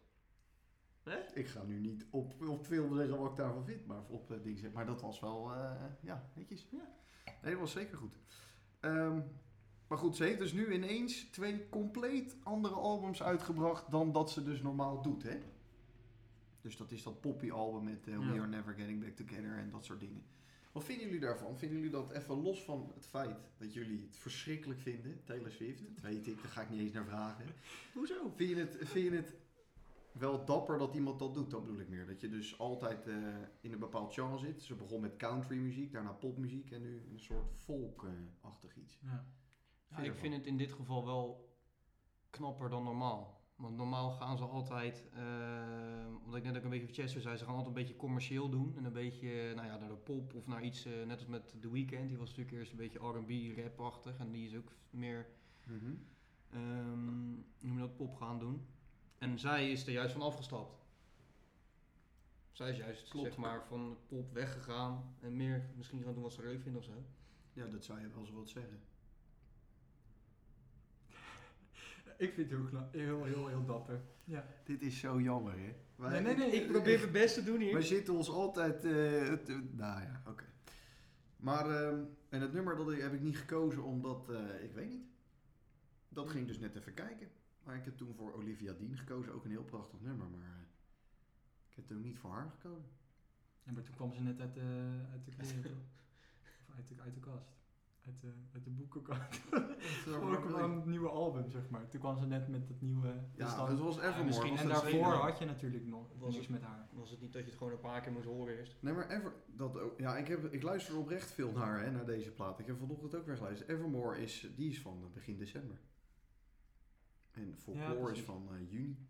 [SPEAKER 2] Ik ga nu niet op, op film zeggen wat ik daarvan vind, maar op eh, dingen zeggen. Maar dat was wel, eh, ja, netjes.
[SPEAKER 1] Ja.
[SPEAKER 2] Nee, dat was zeker goed. Ehm, maar goed, ze heeft dus nu ineens twee compleet andere albums uitgebracht dan dat ze dus normaal doet, hè? Dus dat is dat poppy-album met eh, We
[SPEAKER 1] Ja.
[SPEAKER 2] Are Never Getting Back Together en dat soort dingen. Wat vinden jullie daarvan? Vinden jullie dat even los van het feit dat jullie het verschrikkelijk vinden, Taylor Swift? Dat weet ik, daar ga ik niet eens naar vragen.
[SPEAKER 1] Hoezo?
[SPEAKER 2] Vind je, het, vind je het wel dapper dat iemand dat doet? Dat bedoel ik meer. Dat je dus altijd eh, in een bepaald genre zit. Dus Ze begon met country muziek, daarna popmuziek en nu een soort folk-achtig iets.
[SPEAKER 3] Ja.
[SPEAKER 1] Ja, ik vind het in dit geval wel knapper dan normaal. Want normaal gaan ze altijd, eh, omdat ik net ook een beetje op Chester zei, ze gaan altijd een beetje commercieel doen. En een beetje nou ja, naar de pop of naar iets, eh, net als met The Weeknd. Die was natuurlijk eerst een beetje R&B, rapachtig En die is ook meer,
[SPEAKER 2] Mhm.
[SPEAKER 1] ehm, hoe noem je dat, pop gaan doen. En zij is er juist van afgestapt. Zij is juist,
[SPEAKER 2] Klopt.
[SPEAKER 1] zeg maar, van pop weggegaan. En meer misschien gaan doen wat ze leuk vinden of zo.
[SPEAKER 2] Ja, dat zou je wel zo wat zeggen.
[SPEAKER 3] Ik vind het heel, kna- heel, heel, heel dapper. Ja.
[SPEAKER 2] Dit is zo jammer, hè? Wij-
[SPEAKER 3] Nee, nee, nee,
[SPEAKER 1] Ik probeer mijn best te doen hier.
[SPEAKER 2] Wij zitten ons altijd... eh, het, eh, nou ja, oké. Maar, ehm, en het nummer dat ik, heb ik niet gekozen omdat, eh, ik weet niet. Dat ging dus net even kijken. Maar ik heb toen voor Olivia Dean gekozen. Ook een heel prachtig nummer, maar eh, ik heb toen niet voor haar gekozen.
[SPEAKER 3] Ja, maar toen kwam ze net uit de, uit de kleren, toch? Of uit de, uit de kast. Uit de, uit de boekenkast. Gewoon kwam aan het nieuwe album, zeg maar. Toen kwam ze net met dat nieuwe... dus
[SPEAKER 2] Ja,
[SPEAKER 3] dan-
[SPEAKER 2] het was Evermore.
[SPEAKER 1] misschien-
[SPEAKER 2] was
[SPEAKER 3] en
[SPEAKER 2] het
[SPEAKER 3] daarvoor
[SPEAKER 2] tweede.
[SPEAKER 3] had je natuurlijk nog
[SPEAKER 1] Was
[SPEAKER 3] niks
[SPEAKER 1] het-
[SPEAKER 3] met haar.
[SPEAKER 1] Was het niet dat je het gewoon een paar keer moest horen eerst?
[SPEAKER 2] Nee, maar Ever... Dat ook, ja, ik, heb, ik luister oprecht veel naar, hè, naar deze plaat. Ik heb vanochtend ook weer geluisterd. Evermore is, die is van eh, begin december. En
[SPEAKER 3] Ja,
[SPEAKER 2] Folklore
[SPEAKER 3] precies.
[SPEAKER 2] is van eh, juni.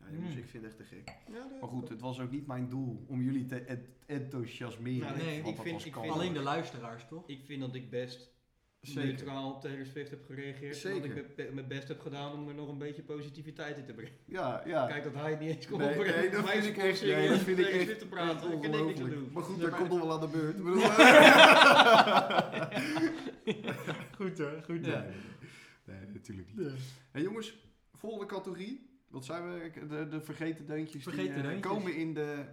[SPEAKER 2] Ja,
[SPEAKER 3] Hmm.
[SPEAKER 2] jongens, ik vind het echt te gek.
[SPEAKER 1] Ja,
[SPEAKER 2] Maar goed, het was ook niet mijn doel om jullie te ent- enthousiasmeren.
[SPEAKER 1] Nou,
[SPEAKER 3] nee,
[SPEAKER 2] Want
[SPEAKER 1] ik
[SPEAKER 2] dat
[SPEAKER 1] vind-
[SPEAKER 2] was
[SPEAKER 1] ik
[SPEAKER 2] kan.
[SPEAKER 1] vind-
[SPEAKER 3] Alleen de luisteraars, toch?
[SPEAKER 1] Ik vind dat ik best
[SPEAKER 2] Zeker.
[SPEAKER 1] neutraal op Taylor Swift heb gereageerd.
[SPEAKER 2] Zeker.
[SPEAKER 1] Dat ik mijn- mijn best heb gedaan om er nog een beetje positiviteit in te brengen.
[SPEAKER 2] Ja, ja.
[SPEAKER 1] Kijk dat hij het niet eens kon
[SPEAKER 2] Nee,
[SPEAKER 1] opbrengen.
[SPEAKER 2] nee, dat
[SPEAKER 1] Hij
[SPEAKER 2] vind ik
[SPEAKER 1] is
[SPEAKER 2] echt-
[SPEAKER 1] serieus
[SPEAKER 2] nee, dat
[SPEAKER 1] met
[SPEAKER 2] vind ik
[SPEAKER 1] Taylor
[SPEAKER 2] echt
[SPEAKER 1] Swift te praten. Ik kan niks aan
[SPEAKER 2] Ongelooflijk.
[SPEAKER 1] doen.
[SPEAKER 2] Maar goed,
[SPEAKER 3] Ja,
[SPEAKER 2] daar
[SPEAKER 3] maar-
[SPEAKER 2] komt nog wel aan de beurt. Ik bedoel,
[SPEAKER 3] Goed hoor, goed
[SPEAKER 2] Nee, nee, nee. Nee, natuurlijk niet. Hey, jongens, volgende categorie. Wat zijn we? De, de vergeten deuntjes
[SPEAKER 3] Vergeten
[SPEAKER 2] die eh,
[SPEAKER 3] deuntjes.
[SPEAKER 2] komen in de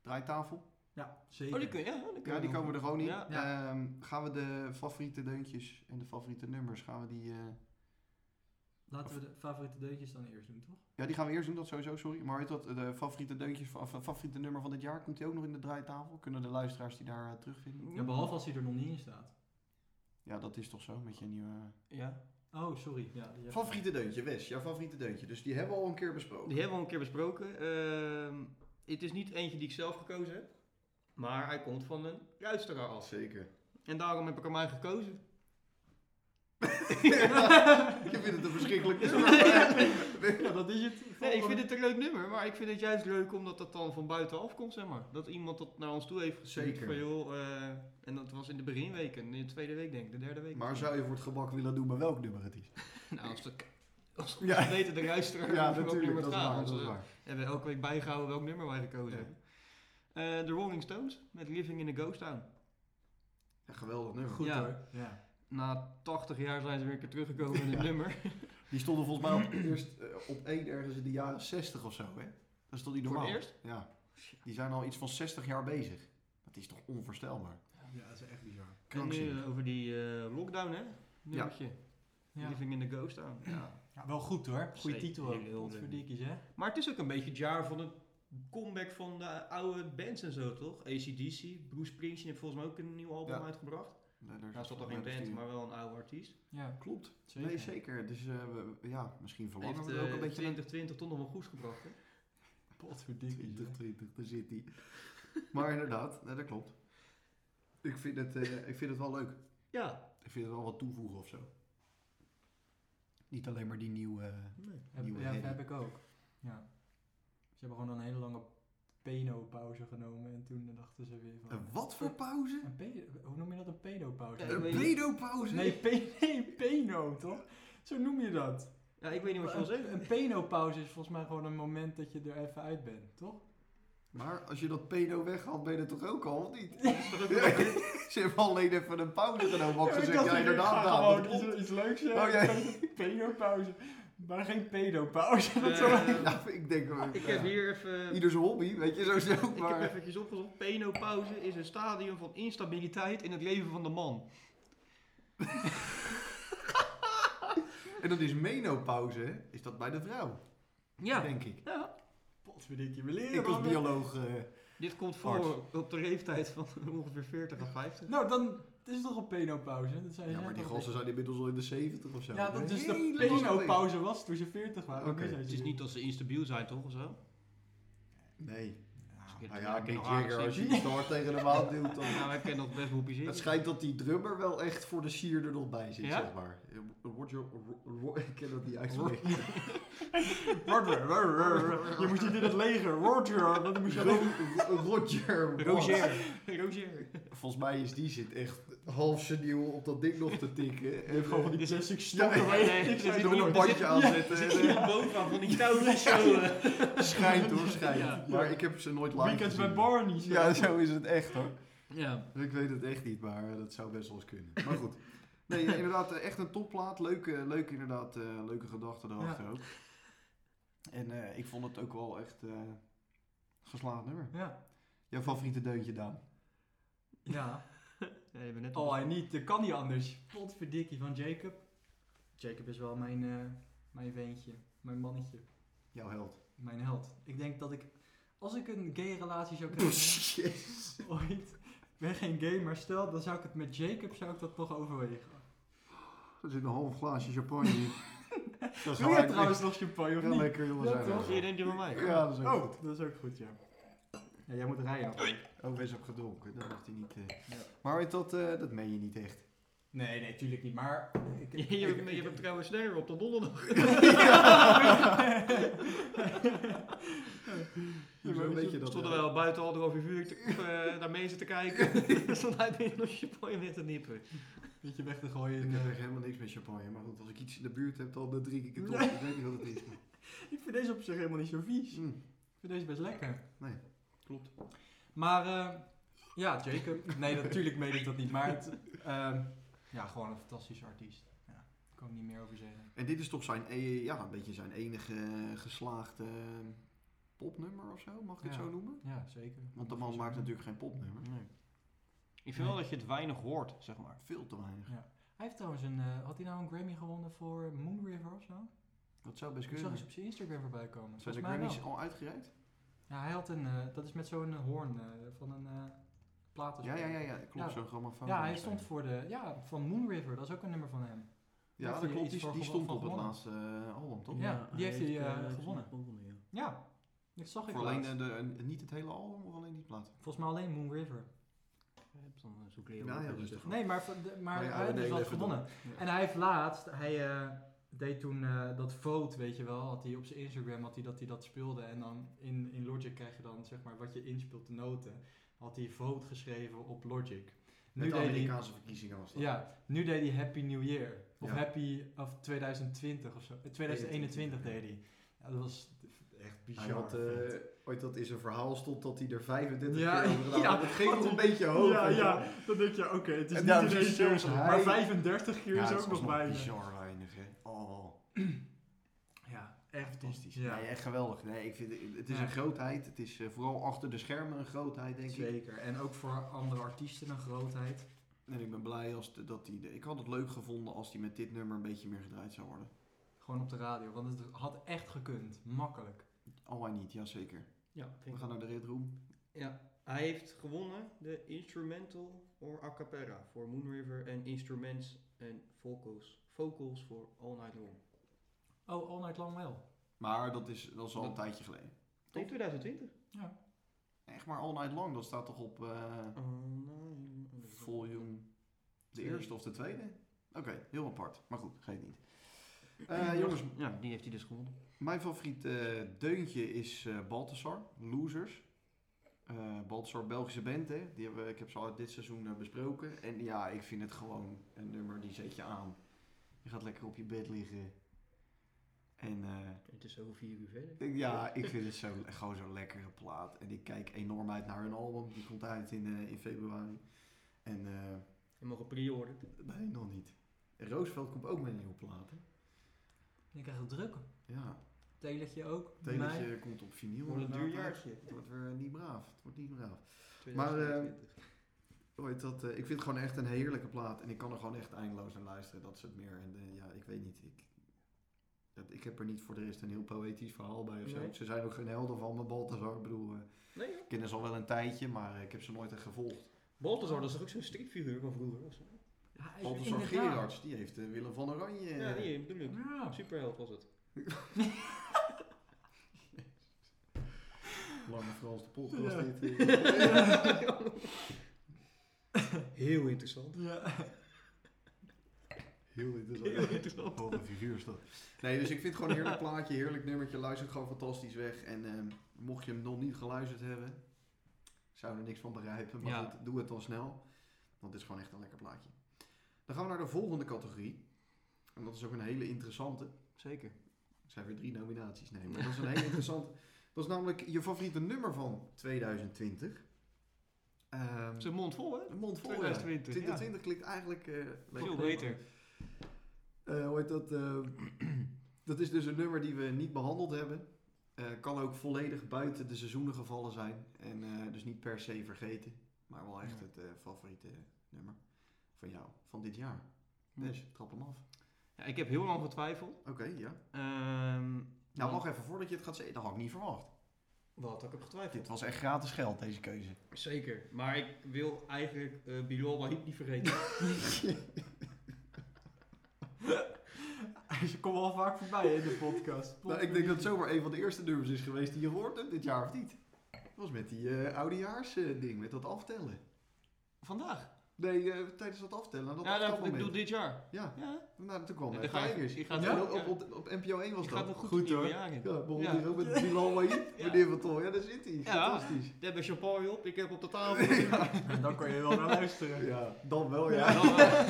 [SPEAKER 2] draaitafel.
[SPEAKER 3] Ja,
[SPEAKER 1] Oh,
[SPEAKER 3] zeker.
[SPEAKER 1] die kun, ja, die kun
[SPEAKER 2] Ja, die komen er gewoon in.
[SPEAKER 1] Ja.
[SPEAKER 2] Ehm, gaan we de favoriete deuntjes en de favoriete nummers, gaan we die... eh,
[SPEAKER 3] Laten we de favoriete deuntjes dan eerst doen, toch?
[SPEAKER 2] Ja, die gaan we eerst doen, dat sowieso, sorry. Maar weet je wat, de favoriete deuntjes, van- of, eh, favoriete nummer van dit jaar, komt die ook nog in de draaitafel? Kunnen de luisteraars die daar eh, terugvinden?
[SPEAKER 3] Ja, behalve als die er nog niet in staat.
[SPEAKER 2] Ja, dat is toch zo, met je nieuwe...
[SPEAKER 1] Ja.
[SPEAKER 3] Oh, sorry. Ja, die heb-
[SPEAKER 2] Favoriete deuntje, Wes, jouw favoriete deuntje. Dus die hebben we al een keer besproken.
[SPEAKER 1] Die hebben we al een keer besproken. Ehm, het is niet eentje die ik zelf gekozen heb. Maar hij komt van een luisteraar af.
[SPEAKER 2] Zeker.
[SPEAKER 1] En daarom heb ik hem mij gekozen.
[SPEAKER 2] Je vindt het een verschrikkelijk nummer. maar-
[SPEAKER 3] Ja, dat is het.
[SPEAKER 1] Nee, ik vind het een leuk nummer, maar ik vind het juist leuk omdat dat dan van buitenaf komt, zeg maar. Dat iemand dat naar ons toe heeft gestuurd
[SPEAKER 2] Zeker.
[SPEAKER 1] van, joh, eh, en dat was in de beginweken, in de tweede week denk ik, de derde week.
[SPEAKER 2] Maar zou je voor het gebak willen doen bij welk nummer het is?
[SPEAKER 1] Nou, als dat... Als we
[SPEAKER 2] Ja.
[SPEAKER 1] weten de luisteraar
[SPEAKER 2] Ja,
[SPEAKER 1] over welk
[SPEAKER 2] natuurlijk,
[SPEAKER 1] nummer
[SPEAKER 2] dat
[SPEAKER 1] het
[SPEAKER 2] is
[SPEAKER 1] gaat. eh.
[SPEAKER 2] waar,
[SPEAKER 1] want
[SPEAKER 2] dat is waar.
[SPEAKER 1] we hebben elke week bijgehouden welk nummer wij gekozen
[SPEAKER 2] Ja.
[SPEAKER 1] hebben. Eh, de Rolling Stones met Living in a Ghost Town.
[SPEAKER 2] Ja, geweldig nummer.
[SPEAKER 3] Goed
[SPEAKER 1] Ja.
[SPEAKER 3] hoor. Ja.
[SPEAKER 1] Na 80 jaar zijn ze weer een keer teruggekomen in het
[SPEAKER 2] Ja.
[SPEAKER 1] nummer.
[SPEAKER 2] Die stonden volgens mij op, eerst eh, op één ergens in de jaren 60 of zo, hè? Dat is toch niet
[SPEAKER 1] Voor
[SPEAKER 2] normaal?
[SPEAKER 1] het eerst.
[SPEAKER 2] Ja. Die zijn al iets van 60 jaar bezig. Dat is toch onvoorstelbaar?
[SPEAKER 3] Ja, dat is echt bizar.
[SPEAKER 1] En nu
[SPEAKER 2] Krankzinnig.
[SPEAKER 1] eh, over die eh, lockdown, hè? Nummertje.
[SPEAKER 3] Ja.
[SPEAKER 1] Living in the Ghost Town.
[SPEAKER 2] Ja.
[SPEAKER 3] Ja, wel goed hoor. Goede
[SPEAKER 1] Zeker.
[SPEAKER 3] titel ook.
[SPEAKER 1] Heel leuk.
[SPEAKER 3] Potverdikkies, hè?
[SPEAKER 1] Maar het is ook een beetje het jaar van het comeback van de oude bands en zo, toch? ACDC, Bruce Springsteen heeft volgens mij ook een nieuw album
[SPEAKER 2] Ja.
[SPEAKER 1] uitgebracht. Nou, dat is toch geen band, maar wel een oude artiest.
[SPEAKER 3] Ja,
[SPEAKER 2] Klopt.
[SPEAKER 3] zeker.
[SPEAKER 2] Nee, zeker. Dus eh, we- we- ja, misschien verlangen
[SPEAKER 1] Heeft
[SPEAKER 2] we er ook
[SPEAKER 1] eh,
[SPEAKER 2] een beetje naar
[SPEAKER 1] 2020 toch nog wel goed gebracht, hè?
[SPEAKER 3] Potverdikkies, hè?
[SPEAKER 2] 2020, daar zit hij. maar inderdaad, nee, dat klopt. Ik vind, het, eh, ik vind het wel leuk.
[SPEAKER 1] Ja.
[SPEAKER 2] Ik vind het wel wat toevoegen of zo. Niet alleen maar die nieuwe... eh,
[SPEAKER 3] Heb,
[SPEAKER 2] Nieuwe
[SPEAKER 3] ja,
[SPEAKER 2] herrie.
[SPEAKER 3] heb ik ook. Ja. Ze hebben gewoon een hele lange pedo-pauze genomen en toen dachten ze weer van...
[SPEAKER 2] een Eh, wat voor pauze?
[SPEAKER 3] Een pedo, hoe noem je dat, een pedo-pauze?
[SPEAKER 1] Ja,
[SPEAKER 2] Een
[SPEAKER 1] weet-
[SPEAKER 2] pedopauze?
[SPEAKER 3] Nee, pe nee, peno, toch? Zo noem je dat.
[SPEAKER 1] Ja, ik weet niet wat je wil
[SPEAKER 3] Een,
[SPEAKER 1] zeggen.
[SPEAKER 3] een peno-pauze is volgens mij gewoon een moment dat je er even uit bent, toch?
[SPEAKER 2] Maar als je dat pedo weghaalt, ben je er toch ook al, of niet?
[SPEAKER 1] Dat is toch ook wel-
[SPEAKER 2] Ze hebben alleen even een pauze genomen. Wat ze zeggen, ja, inderdaad, Daan,
[SPEAKER 3] gewoon
[SPEAKER 2] dat
[SPEAKER 3] iets,
[SPEAKER 2] klopt.
[SPEAKER 3] iets leuks
[SPEAKER 2] Oh, ja.
[SPEAKER 3] Pedo-pauze. Maar geen pedo-pauze. dat
[SPEAKER 1] Eh,
[SPEAKER 3] zou-
[SPEAKER 2] Ja, ik denk wel.
[SPEAKER 1] Ik
[SPEAKER 2] ja.
[SPEAKER 1] heb hier even...
[SPEAKER 2] Ieder zijn hobby, weet je, zo is het ook.
[SPEAKER 1] Ik heb
[SPEAKER 2] Maar
[SPEAKER 1] eventjes opgezocht. Penopauze is een stadium van instabiliteit in het leven van de man.
[SPEAKER 2] En dat is menopauze, hè? is dat bij de vrouw,
[SPEAKER 1] Ja.
[SPEAKER 2] denk ik.
[SPEAKER 1] ja.
[SPEAKER 3] Potverdikkie, we leren
[SPEAKER 2] Ik
[SPEAKER 3] wel
[SPEAKER 2] als
[SPEAKER 3] weer.
[SPEAKER 2] bioloog, eh,
[SPEAKER 1] Dit komt
[SPEAKER 2] Arts.
[SPEAKER 1] voor op de leeftijd van ongeveer 40 à 50.
[SPEAKER 3] Nou, dan het is toch een penopauze? Dat zijn
[SPEAKER 2] ja, maar die
[SPEAKER 3] gasten
[SPEAKER 2] gasten zijn inmiddels al in de 70 of zo.
[SPEAKER 3] Ja, dat is de
[SPEAKER 2] Helemaal
[SPEAKER 3] penopauze was toen ze 40 waren.
[SPEAKER 2] Oké.
[SPEAKER 3] Nu zijn
[SPEAKER 1] Het
[SPEAKER 3] ze
[SPEAKER 1] is
[SPEAKER 3] weer-
[SPEAKER 1] niet dat ze instabiel zijn, toch? Of zo?
[SPEAKER 2] Nee.
[SPEAKER 1] Ja,
[SPEAKER 2] Nou ja,
[SPEAKER 1] nog
[SPEAKER 2] Mick Jagger, als je iets te hard tegen de maat duwt, dan...
[SPEAKER 1] Nou, wij kennen dat best wel
[SPEAKER 2] Het
[SPEAKER 1] plezier.
[SPEAKER 2] schijnt dat die drummer wel echt voor de sier er nog bij zit,
[SPEAKER 1] Ja?
[SPEAKER 2] zeg maar. Roger... Ro- Ro- ik ken dat niet uitspreken.
[SPEAKER 3] Roger, Roger, Roger. Je moest niet in het leger. Roger, dat moest je alleen.
[SPEAKER 2] Ro- Roger...
[SPEAKER 1] Roger. Roger.
[SPEAKER 2] Volgens mij is die zit echt half seniel op dat ding nog te tikken. En
[SPEAKER 3] Gewoon van die
[SPEAKER 2] die
[SPEAKER 3] 60 stokken.
[SPEAKER 2] Ja,
[SPEAKER 3] waar je
[SPEAKER 1] nee,
[SPEAKER 3] niks
[SPEAKER 1] er
[SPEAKER 3] aan
[SPEAKER 1] zit
[SPEAKER 2] er
[SPEAKER 3] doet.
[SPEAKER 1] nog
[SPEAKER 2] een
[SPEAKER 1] er
[SPEAKER 2] bandje
[SPEAKER 1] zit-
[SPEAKER 2] aan
[SPEAKER 3] ja,
[SPEAKER 1] Er
[SPEAKER 2] zetten.
[SPEAKER 1] zit hier bovenaan van die touwtjes zo. eh.
[SPEAKER 2] Schijnt hoor, schijnt.
[SPEAKER 1] Ja.
[SPEAKER 2] Maar ik heb ze nooit live
[SPEAKER 3] Weekends
[SPEAKER 2] gezien.
[SPEAKER 3] bij Barney. zo.
[SPEAKER 2] Ja, zo is het echt hoor.
[SPEAKER 1] Ja.
[SPEAKER 2] Ik weet het echt niet, maar eh, dat zou best wel eens kunnen. Maar goed. Nee, ja, inderdaad, eh, echt een topplaat. Leuke, leuke, inderdaad, eh, leuke gedachten erachter ook. En eh, ik vond het ook wel echt eh geslaagd nummer.
[SPEAKER 3] Ja.
[SPEAKER 2] Jouw favoriete deuntje, Daan?
[SPEAKER 3] Ja.
[SPEAKER 1] Ja, je bent net
[SPEAKER 3] Oh, hij niet. Dat kan niet anders. Potverdikkie van Jacob. Jacob is wel mijn, eh, mijn veentje. Mijn mannetje.
[SPEAKER 2] Jouw held.
[SPEAKER 3] Mijn held. Ik denk dat ik, als ik een gay relatie zou krijgen, ooit, ik ben geen gay, maar stel, dan zou ik het met Jacob, zou ik dat toch overwegen.
[SPEAKER 2] Er zit een half glaasje champagne in. dat is
[SPEAKER 3] Doe jij trouwens nog champagne of
[SPEAKER 2] Heel
[SPEAKER 3] niet?
[SPEAKER 2] lekker, jongens.
[SPEAKER 3] Ja,
[SPEAKER 2] zijn we.
[SPEAKER 3] toch?
[SPEAKER 1] Zie je, denk je van mij.
[SPEAKER 2] Ja, dat is ook goed.
[SPEAKER 3] Oh, dat is ook goed, ja. Ja, jij moet rijden.
[SPEAKER 2] Oh, wees op gedronken. Dat mag hij niet. eh.
[SPEAKER 3] Ja.
[SPEAKER 2] Maar weet dat, eh, dat meen je niet echt.
[SPEAKER 3] Nee, nee, tuurlijk niet, maar... Ik,
[SPEAKER 1] Je, je, hebt- je hebt trouwens sneller op de donderdag.
[SPEAKER 2] Ja, maar weet je dat eh?
[SPEAKER 1] Stonden
[SPEAKER 2] wel?
[SPEAKER 1] wij al buiten al over vuur te, eh, naar mensen te kijken. Stond hij binnen nog champagne met te nippen.
[SPEAKER 3] Beetje weg te gooien.
[SPEAKER 2] Ik
[SPEAKER 3] in,
[SPEAKER 2] heb
[SPEAKER 3] eh.
[SPEAKER 2] echt helemaal niks met champagne. Maar goed, als ik iets in de buurt heb, dan drink ik het toch.
[SPEAKER 3] Nee.
[SPEAKER 2] Ik weet niet wat het is.
[SPEAKER 3] Ik vind deze op zich helemaal niet zo vies. Ik
[SPEAKER 2] Mm.
[SPEAKER 3] vind deze best lekker.
[SPEAKER 1] Klopt.
[SPEAKER 3] Maar, eh, ja, Jacob. Nee, natuurlijk meen ik dat niet, maar... Het, ehm, ja, gewoon een fantastische artiest. Ja, daar kan ik niet meer over zeggen.
[SPEAKER 2] En dit is toch zijn, eh, ja, een beetje zijn enige eh, geslaagde eh, popnummer of zo, mag ik het
[SPEAKER 3] Ja.
[SPEAKER 2] zo noemen?
[SPEAKER 3] Ja, zeker.
[SPEAKER 2] Want de man maakt natuurlijk geen popnummer.
[SPEAKER 1] Ik vind wel dat je het weinig hoort, zeg maar.
[SPEAKER 2] Veel te weinig.
[SPEAKER 3] Hij heeft trouwens een... eh, had hij nou een Grammy gewonnen voor Moon River of zo?
[SPEAKER 2] Dat zou best
[SPEAKER 3] Ik zag
[SPEAKER 2] kunnen.
[SPEAKER 3] eens op zijn Instagram voorbij komen.
[SPEAKER 2] Zijn
[SPEAKER 3] Volgens
[SPEAKER 2] de
[SPEAKER 3] mij
[SPEAKER 2] Grammys
[SPEAKER 3] wel.
[SPEAKER 2] al uitgereikt?
[SPEAKER 3] Ja, hij had een... eh, dat is met zo'n eh, hoorn eh, van een eh platen.
[SPEAKER 2] Ja, ja, ja, ja. Klopt,
[SPEAKER 3] Ja.
[SPEAKER 2] zo'n grammofoon.
[SPEAKER 3] Ja, hij stond voor de... Ja, van Moon River. Dat is ook een nummer van hem.
[SPEAKER 2] Ja,
[SPEAKER 3] heeft
[SPEAKER 2] dat
[SPEAKER 3] hij
[SPEAKER 2] klopt.
[SPEAKER 3] iets
[SPEAKER 2] Die,
[SPEAKER 3] voor
[SPEAKER 2] die
[SPEAKER 3] gewo-
[SPEAKER 2] stond
[SPEAKER 3] van
[SPEAKER 2] op het
[SPEAKER 3] gewonnen.
[SPEAKER 2] laatste eh, album, toch?
[SPEAKER 3] Ja, die heeft hij, eh, gewonnen.
[SPEAKER 1] ja.
[SPEAKER 3] Ja, dat zag ik
[SPEAKER 2] Voor alleen
[SPEAKER 3] laatst.
[SPEAKER 2] eh, de, een- niet het hele album of alleen die plaat?
[SPEAKER 3] Volgens mij alleen Moon River.
[SPEAKER 1] Ja, Dan eh, zoek je
[SPEAKER 2] Ja,
[SPEAKER 1] ook
[SPEAKER 2] heel
[SPEAKER 1] wel
[SPEAKER 2] rustig.
[SPEAKER 1] eens.
[SPEAKER 3] Nee, maar, van de- maar
[SPEAKER 2] Maar Oh ja,
[SPEAKER 3] hij heeft
[SPEAKER 2] nee,
[SPEAKER 3] dus wat
[SPEAKER 2] even
[SPEAKER 3] gewonnen.
[SPEAKER 2] door. Ja.
[SPEAKER 3] En hij heeft laatst... Hij eh, deed toen eh, dat vote, weet je wel. Had hij op zijn Instagram had hij dat, hij dat speelde. En dan in, in Logic krijg je dan zeg maar wat je inspeelt, de noten. Had hij vote geschreven op Logic.
[SPEAKER 2] Met de
[SPEAKER 3] deed hij-
[SPEAKER 2] Amerikaanse verkiezingen was dat.
[SPEAKER 3] Ja, nu deed hij Happy New Year. Of
[SPEAKER 2] Ja.
[SPEAKER 3] Happy of 2020 of zo. Eh, 2021 deed hij. Ja, dat was echt bizar.
[SPEAKER 2] Hij had eh,
[SPEAKER 3] vent.
[SPEAKER 2] ooit dat in zijn verhaal stond dat hij er 35
[SPEAKER 3] Ja,
[SPEAKER 2] keer over gedaan had.
[SPEAKER 3] ja,
[SPEAKER 2] Het ging
[SPEAKER 3] wat
[SPEAKER 2] nog een
[SPEAKER 3] een-
[SPEAKER 2] beetje hoog.
[SPEAKER 3] ja,
[SPEAKER 2] weet je
[SPEAKER 3] ja,
[SPEAKER 2] wel.
[SPEAKER 3] dan denk je, oké, het is
[SPEAKER 2] En
[SPEAKER 3] niet
[SPEAKER 2] daar
[SPEAKER 3] in
[SPEAKER 2] precies
[SPEAKER 3] deze keer,
[SPEAKER 2] zelfs
[SPEAKER 3] maar
[SPEAKER 2] hij-
[SPEAKER 3] 35 keer
[SPEAKER 2] Ja,
[SPEAKER 3] is
[SPEAKER 2] het
[SPEAKER 3] ook nog
[SPEAKER 2] alsnog
[SPEAKER 3] bijna.
[SPEAKER 2] bizar weinig, hè. Oh,
[SPEAKER 3] Ja, echt
[SPEAKER 2] fantastisch.
[SPEAKER 3] Ja,
[SPEAKER 2] Nee, echt geweldig. Nee, ik vind, het- het is
[SPEAKER 3] Ja.
[SPEAKER 2] een grootheid. Het is eh, vooral achter de schermen een grootheid, denk ik.
[SPEAKER 3] zeker. En ook voor andere artiesten een grootheid.
[SPEAKER 2] En ik ben blij als de- dat die. de- Ik had het leuk gevonden als die met dit nummer een beetje meer gedraaid zou worden.
[SPEAKER 3] Gewoon op de radio, want het had echt gekund. Makkelijk.
[SPEAKER 2] Al wij niet, jazeker.
[SPEAKER 1] Ja,
[SPEAKER 2] We gaan naar de Red Room.
[SPEAKER 1] Hij heeft gewonnen de Instrumental or A Cappella voor Moonriver en Instruments en Vocals, vocals voor All Night Long.
[SPEAKER 3] Oh, All Night Long wel.
[SPEAKER 2] Maar dat is, dat is al een
[SPEAKER 1] Dat-
[SPEAKER 2] tijdje geleden.
[SPEAKER 1] In 2020.
[SPEAKER 2] Echt maar All Night Long, dat staat toch op eh,
[SPEAKER 1] All Night Long.
[SPEAKER 2] volume. De
[SPEAKER 1] Twee.
[SPEAKER 2] eerste of de tweede? Oké, heel apart. Maar goed, geeft niet.
[SPEAKER 1] Ja,
[SPEAKER 2] Eh, jongens,
[SPEAKER 1] ja, die heeft hij dus gewonnen.
[SPEAKER 2] Mijn favoriet eh, deuntje is eh Baltasar, Losers. Eh Baltasar, Belgische band, hè? Die hebben, we- ik heb ze al dit seizoen eh, besproken. En ja, ik vind het gewoon een nummer die zet je aan. Je gaat lekker op je bed liggen. En eh,
[SPEAKER 1] Het is over vier uur verder.
[SPEAKER 2] ik- ja, ik vind het zo, gewoon zo'n lekkere plaat. En ik kijk enorm uit naar hun album. Die komt uit in, eh, in februari. En eh,
[SPEAKER 1] Je mag pre-orderd.
[SPEAKER 2] nee, nog niet. Roosevelt komt ook met een nieuwe plaat. hè?
[SPEAKER 3] Je krijgt het druk.
[SPEAKER 2] Ja,
[SPEAKER 3] Teletje ook.
[SPEAKER 2] het enige komt op vinyl.
[SPEAKER 1] Wordt een duur
[SPEAKER 2] inderdaad.
[SPEAKER 1] jaartje.
[SPEAKER 2] Het wordt weer niet braaf. Het wordt niet braaf. nou, Maar, eh,
[SPEAKER 1] 2022.
[SPEAKER 2] Hoe heet dat, eh, ik vind het gewoon echt een heerlijke plaat. En ik kan er gewoon echt eindeloos naar luisteren. Dat is het meer. En eh, ja, ik weet niet. Ik, dat, ik heb er niet voor de rest een heel poëtisch verhaal bij of zo.
[SPEAKER 1] Nee.
[SPEAKER 2] Ze zijn ook geen helden van me, Balthazar. Ik bedoel, eh,
[SPEAKER 1] nee,
[SPEAKER 2] ik ken ze al wel een tijdje, maar eh, ik heb ze nooit echt gevolgd.
[SPEAKER 1] Balthazar, dat is toch ook zo'n stripfiguur van vroeger? of zo?
[SPEAKER 3] Ja, is-
[SPEAKER 2] Balthazar
[SPEAKER 3] inderdaad.
[SPEAKER 2] Gerards, die heeft eh, Willem van Oranje. eh,
[SPEAKER 1] Ja, die bedoel ik.
[SPEAKER 3] Ja.
[SPEAKER 1] Superheld was het.
[SPEAKER 2] Lange Frans de podcast.
[SPEAKER 3] Ja.
[SPEAKER 2] dit, eh.
[SPEAKER 1] Heel interessant.
[SPEAKER 3] Ja.
[SPEAKER 2] Heel
[SPEAKER 1] Heel
[SPEAKER 2] interessant.
[SPEAKER 1] interessant.
[SPEAKER 2] Wat een figuur is dat. Nee, dus ik vind het gewoon een heerlijk plaatje, heerlijk nummertje. Luistert gewoon fantastisch weg. En ehm, mocht je hem nog niet geluisterd hebben, zou er niks van begrijpen. Maar
[SPEAKER 1] Ja.
[SPEAKER 2] goed, doe het dan snel. Want het is gewoon echt een lekker plaatje. Dan gaan we naar de volgende categorie. En dat is ook een hele interessante.
[SPEAKER 1] Zeker.
[SPEAKER 2] Het zijn weer drie nominaties, nee. Maar dat is een hele interessante. Dat is namelijk je favoriete nummer van 2020. Ehm,
[SPEAKER 1] Zijn mond vol, hè?
[SPEAKER 2] een mond vol. ja.
[SPEAKER 1] 2020, ja.
[SPEAKER 2] 2020 klinkt eigenlijk eh,
[SPEAKER 1] Veel
[SPEAKER 2] lekker.
[SPEAKER 1] beter.
[SPEAKER 2] Eh, hoe heet dat? eh, dat is dus een nummer die we niet behandeld hebben. Eh, kan ook volledig buiten de seizoenen gevallen zijn. En eh, dus niet per se vergeten. Maar wel echt
[SPEAKER 1] Ja.
[SPEAKER 2] het eh, favoriete nummer van jou, van dit jaar. Dus, trap hem af.
[SPEAKER 1] Ja, ik heb heel lang getwijfeld.
[SPEAKER 2] Oké, ja.
[SPEAKER 1] Ehm,
[SPEAKER 2] Nou,
[SPEAKER 1] Ja.
[SPEAKER 2] wacht even voordat je het gaat zeggen. Dat had ik niet verwacht.
[SPEAKER 1] wat? Ik heb
[SPEAKER 2] Dit
[SPEAKER 1] getwijfeld.
[SPEAKER 2] was echt gratis geld, deze keuze.
[SPEAKER 1] Zeker. Maar ik wil eigenlijk eh Bilal Wahib niet vergeten.
[SPEAKER 3] Ze komen al vaak voorbij in de podcast.
[SPEAKER 2] Nou, ik denk dat het zomaar een van de eerste nummers is geweest die je hoort hebt dit jaar of niet. Dat was met die eh oudejaars eh, ding, met dat aftellen.
[SPEAKER 1] Vandaag.
[SPEAKER 2] Nee, eh, tijdens dat aftellen. Dat
[SPEAKER 1] Ja, dat, ik
[SPEAKER 2] aftelmoment.
[SPEAKER 1] doe dit jaar.
[SPEAKER 2] Ja,
[SPEAKER 1] Ja,
[SPEAKER 2] nou, toen kwam
[SPEAKER 1] Ja,
[SPEAKER 2] hij.
[SPEAKER 1] dan ga je-
[SPEAKER 2] Tigers.
[SPEAKER 1] je gaat-
[SPEAKER 2] Ja,
[SPEAKER 1] ja.
[SPEAKER 2] op, op, op NPO 1 was
[SPEAKER 1] je
[SPEAKER 2] dat.
[SPEAKER 1] gaat een goed,
[SPEAKER 3] Goed,
[SPEAKER 1] nieuwe
[SPEAKER 3] hoor.
[SPEAKER 1] jaar in.
[SPEAKER 2] Ja, bijvoorbeeld
[SPEAKER 1] Ja.
[SPEAKER 2] hier ook met Bilal Wahid,
[SPEAKER 1] Ja.
[SPEAKER 2] meneer Van Tol. Ja, daar zit hij.
[SPEAKER 1] Ja.
[SPEAKER 2] Fantastisch.
[SPEAKER 1] Daar hebben champagne op, ik heb op de tafel.
[SPEAKER 3] En dan kan je wel naar luisteren.
[SPEAKER 2] Ja, dan wel ja.
[SPEAKER 1] Ja, dan wel.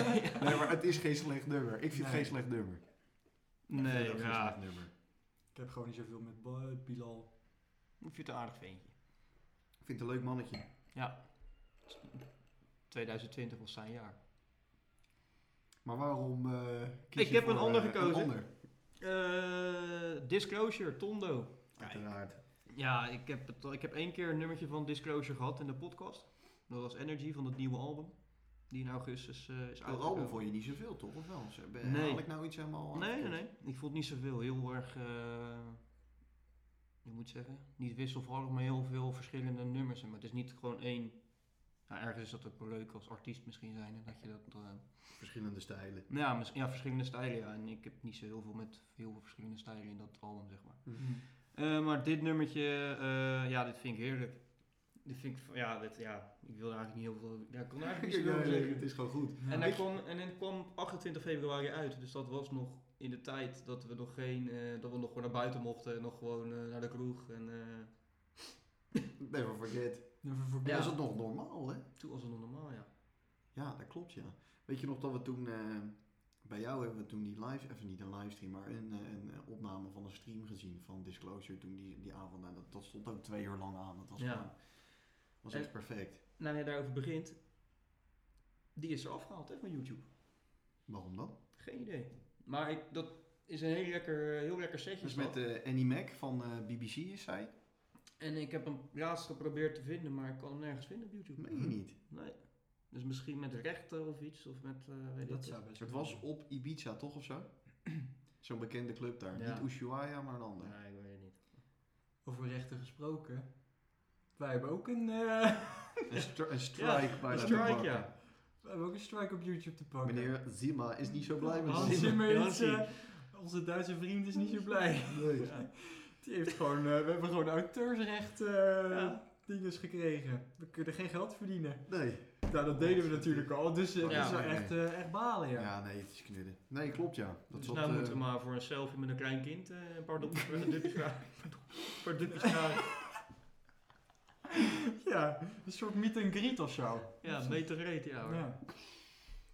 [SPEAKER 2] Nee, maar het is geen slecht nummer. Ik vind
[SPEAKER 3] Nee.
[SPEAKER 2] geen slecht nummer. Ik vind het
[SPEAKER 1] Nee,
[SPEAKER 2] ook geen
[SPEAKER 1] ja.
[SPEAKER 2] slecht nummer.
[SPEAKER 3] Ik heb gewoon niet zoveel met Ba- Bilal.
[SPEAKER 1] Ik vind het een aardig ventje.
[SPEAKER 2] Ik vind het een leuk mannetje.
[SPEAKER 1] 2020 was zijn jaar.
[SPEAKER 2] Maar waarom eh, kies
[SPEAKER 1] Ik
[SPEAKER 2] je
[SPEAKER 1] heb
[SPEAKER 2] voor,
[SPEAKER 1] een ander
[SPEAKER 2] eh,
[SPEAKER 1] gekozen.
[SPEAKER 2] Een ander,
[SPEAKER 1] Eh, Disclosure, Tondo.
[SPEAKER 2] uiteraard.
[SPEAKER 1] Ja, ik heb, het, al- ik heb één keer een nummertje van Disclosure gehad in de podcast. Dat was Energy van het nieuwe album. Die in augustus eh, is
[SPEAKER 2] Dat
[SPEAKER 1] uitgekomen.
[SPEAKER 2] album vond je niet zoveel, toch? Of wel? Ze hebben-
[SPEAKER 1] Nee.
[SPEAKER 2] Haal ik nou iets helemaal...
[SPEAKER 1] Nee, nee, nee. Ik vond het niet zoveel. Heel erg, eh, je moet zeggen, niet wisselvallig, maar heel veel verschillende nummers. Maar het is niet gewoon één. Nou, ergens is dat ook wel leuk als artiest misschien zijn. hè, Dat je dat, eh,
[SPEAKER 2] Verschillende stijlen.
[SPEAKER 1] nou ja, mis- ja, verschillende stijlen. Ja. En ik heb niet zo heel veel met heel veel verschillende stijlen in dat album, zeg maar.
[SPEAKER 2] Hm.
[SPEAKER 1] Eh, maar dit nummertje, eh, ja, dit vind ik heerlijk. Dit vind ik, ja, dit, ja, ik wil er eigenlijk niet heel veel, ja, ik kon er eigenlijk niet
[SPEAKER 2] Ja,
[SPEAKER 1] zo
[SPEAKER 2] nee,
[SPEAKER 1] heel veel zeggen.
[SPEAKER 2] het is gewoon goed.
[SPEAKER 1] En hij, kwam, en hij kwam op 28 februari uit, dus dat was nog in de tijd dat we nog geen, eh, dat we nog gewoon naar buiten mochten en nog gewoon eh, naar de kroeg. En eh,
[SPEAKER 2] Never forget.
[SPEAKER 3] Never forget.
[SPEAKER 2] Ja. Was het nog normaal, hè?
[SPEAKER 1] toen was het nog normaal, ja.
[SPEAKER 2] Ja, dat klopt, ja. Weet je nog dat we toen... eh, bij jou hebben we toen die live... Even niet een livestream, maar een, eh, een eh, opname van een stream gezien van Disclosure toen die, die avond. En dat, dat stond ook twee uur lang aan. Dat was,
[SPEAKER 1] Ja.
[SPEAKER 2] gewoon- was
[SPEAKER 1] En-
[SPEAKER 2] echt perfect.
[SPEAKER 1] Nou, je daarover begint, die is er afgehaald hè, van YouTube.
[SPEAKER 2] Waarom dan?
[SPEAKER 1] Geen idee. Maar ik, dat is een heel lekker, eh, heel lekker setje.
[SPEAKER 2] Dus met eh, Annie Mac van eh, BBC is zij.
[SPEAKER 1] Mm-hmm. En ik heb hem laatst geprobeerd te vinden, maar ik kan hem nergens vinden op YouTube.
[SPEAKER 2] Meen je niet?
[SPEAKER 1] Nee. Dus misschien met rechten of iets, of met eh, weet ik
[SPEAKER 3] Dat
[SPEAKER 1] het.
[SPEAKER 3] zou best
[SPEAKER 2] Het
[SPEAKER 3] kunnen.
[SPEAKER 2] was op Ibiza toch of zo? Zo'n bekende club daar.
[SPEAKER 1] Ja.
[SPEAKER 2] Niet Ushuaia, maar een ander.
[SPEAKER 1] Nee, ik weet het niet.
[SPEAKER 3] Over rechten gesproken. Wij hebben ook een, eh,
[SPEAKER 2] Een, stri- een strike bij
[SPEAKER 1] Een
[SPEAKER 2] de
[SPEAKER 1] strike,
[SPEAKER 2] bank.
[SPEAKER 1] ja.
[SPEAKER 3] we hebben ook een strike op YouTube te pakken.
[SPEAKER 2] Meneer Zima is niet zo blij met
[SPEAKER 3] Hans
[SPEAKER 1] Zimmer.
[SPEAKER 2] Zima.
[SPEAKER 3] Zimmer
[SPEAKER 1] Hans
[SPEAKER 3] is, eh, onze Duitse vriend is niet zo blij.
[SPEAKER 2] Nee.
[SPEAKER 3] Die heeft gewoon, eh, we hebben gewoon auteursrecht eh
[SPEAKER 1] Ja.
[SPEAKER 3] dinges gekregen. We kunnen geen geld verdienen.
[SPEAKER 2] nee.
[SPEAKER 3] Nou, dat deden we natuurlijk al, dus eh, het
[SPEAKER 1] Ja.
[SPEAKER 3] is wel echt, eh, echt balen, ja.
[SPEAKER 2] Ja, nee, het is knudden. Nee, klopt ja. Dat
[SPEAKER 1] dus
[SPEAKER 2] zat,
[SPEAKER 1] nou
[SPEAKER 2] eh,
[SPEAKER 1] moeten we maar voor een selfie met een klein kind eh, een paar dopjes een dupjes vragen. Een paar dupjes vragen.
[SPEAKER 3] Ja, een soort meet and greet of zo.
[SPEAKER 1] Ja, beter reet, ja hoor.
[SPEAKER 3] Ja.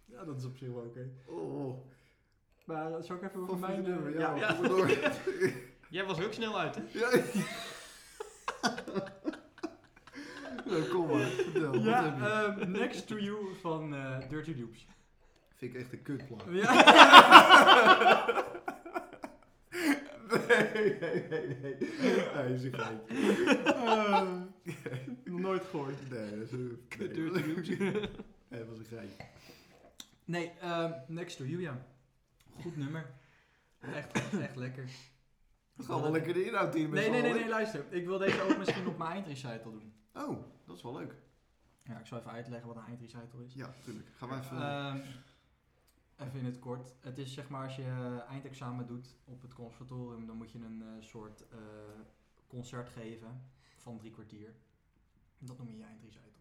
[SPEAKER 3] Ja, dat is op zich wel oké.
[SPEAKER 2] Oh,
[SPEAKER 3] Maar eh, zal ik even over
[SPEAKER 2] van
[SPEAKER 3] mijn... eh,
[SPEAKER 2] ja.
[SPEAKER 1] ja.
[SPEAKER 2] kom maar door.
[SPEAKER 1] Jij was er ook snel uit, hè?
[SPEAKER 2] Ja. Nou, kom maar, vertel. wat
[SPEAKER 3] Ja,
[SPEAKER 2] heb je?
[SPEAKER 3] ehm, Next to You van eh, Dirty Loops.
[SPEAKER 2] Vind ik echt een kutplaat.
[SPEAKER 1] Oh.
[SPEAKER 3] Ja.
[SPEAKER 2] Nee, nee, nee, nee. Nee, is een geit. Eh,
[SPEAKER 3] Nog nooit gehoord.
[SPEAKER 2] Nee, dat is een... nee.
[SPEAKER 1] Dirty
[SPEAKER 2] Nee, dat was een geitje.
[SPEAKER 3] Nee, ehm, Next to You, ja. Goed nummer. Echt, echt lekker.
[SPEAKER 2] We gaan wel lekker de inhoud in met
[SPEAKER 3] Nee,
[SPEAKER 2] z'n
[SPEAKER 3] nee, nee,
[SPEAKER 2] allen.
[SPEAKER 3] nee, luister. Ik wil deze ook misschien op mijn eindrecital doen.
[SPEAKER 2] Oh, dat is wel leuk.
[SPEAKER 3] Ja, ik zal even uitleggen wat een eindrecital is.
[SPEAKER 2] Ja, tuurlijk. Gaan we even...
[SPEAKER 3] Ehm, even in het kort. Het is zeg maar als je eh, eindexamen doet op het conservatorium, dan moet je een eh, soort eh, concert geven van drie kwartier. Dat noem je je eindrecital.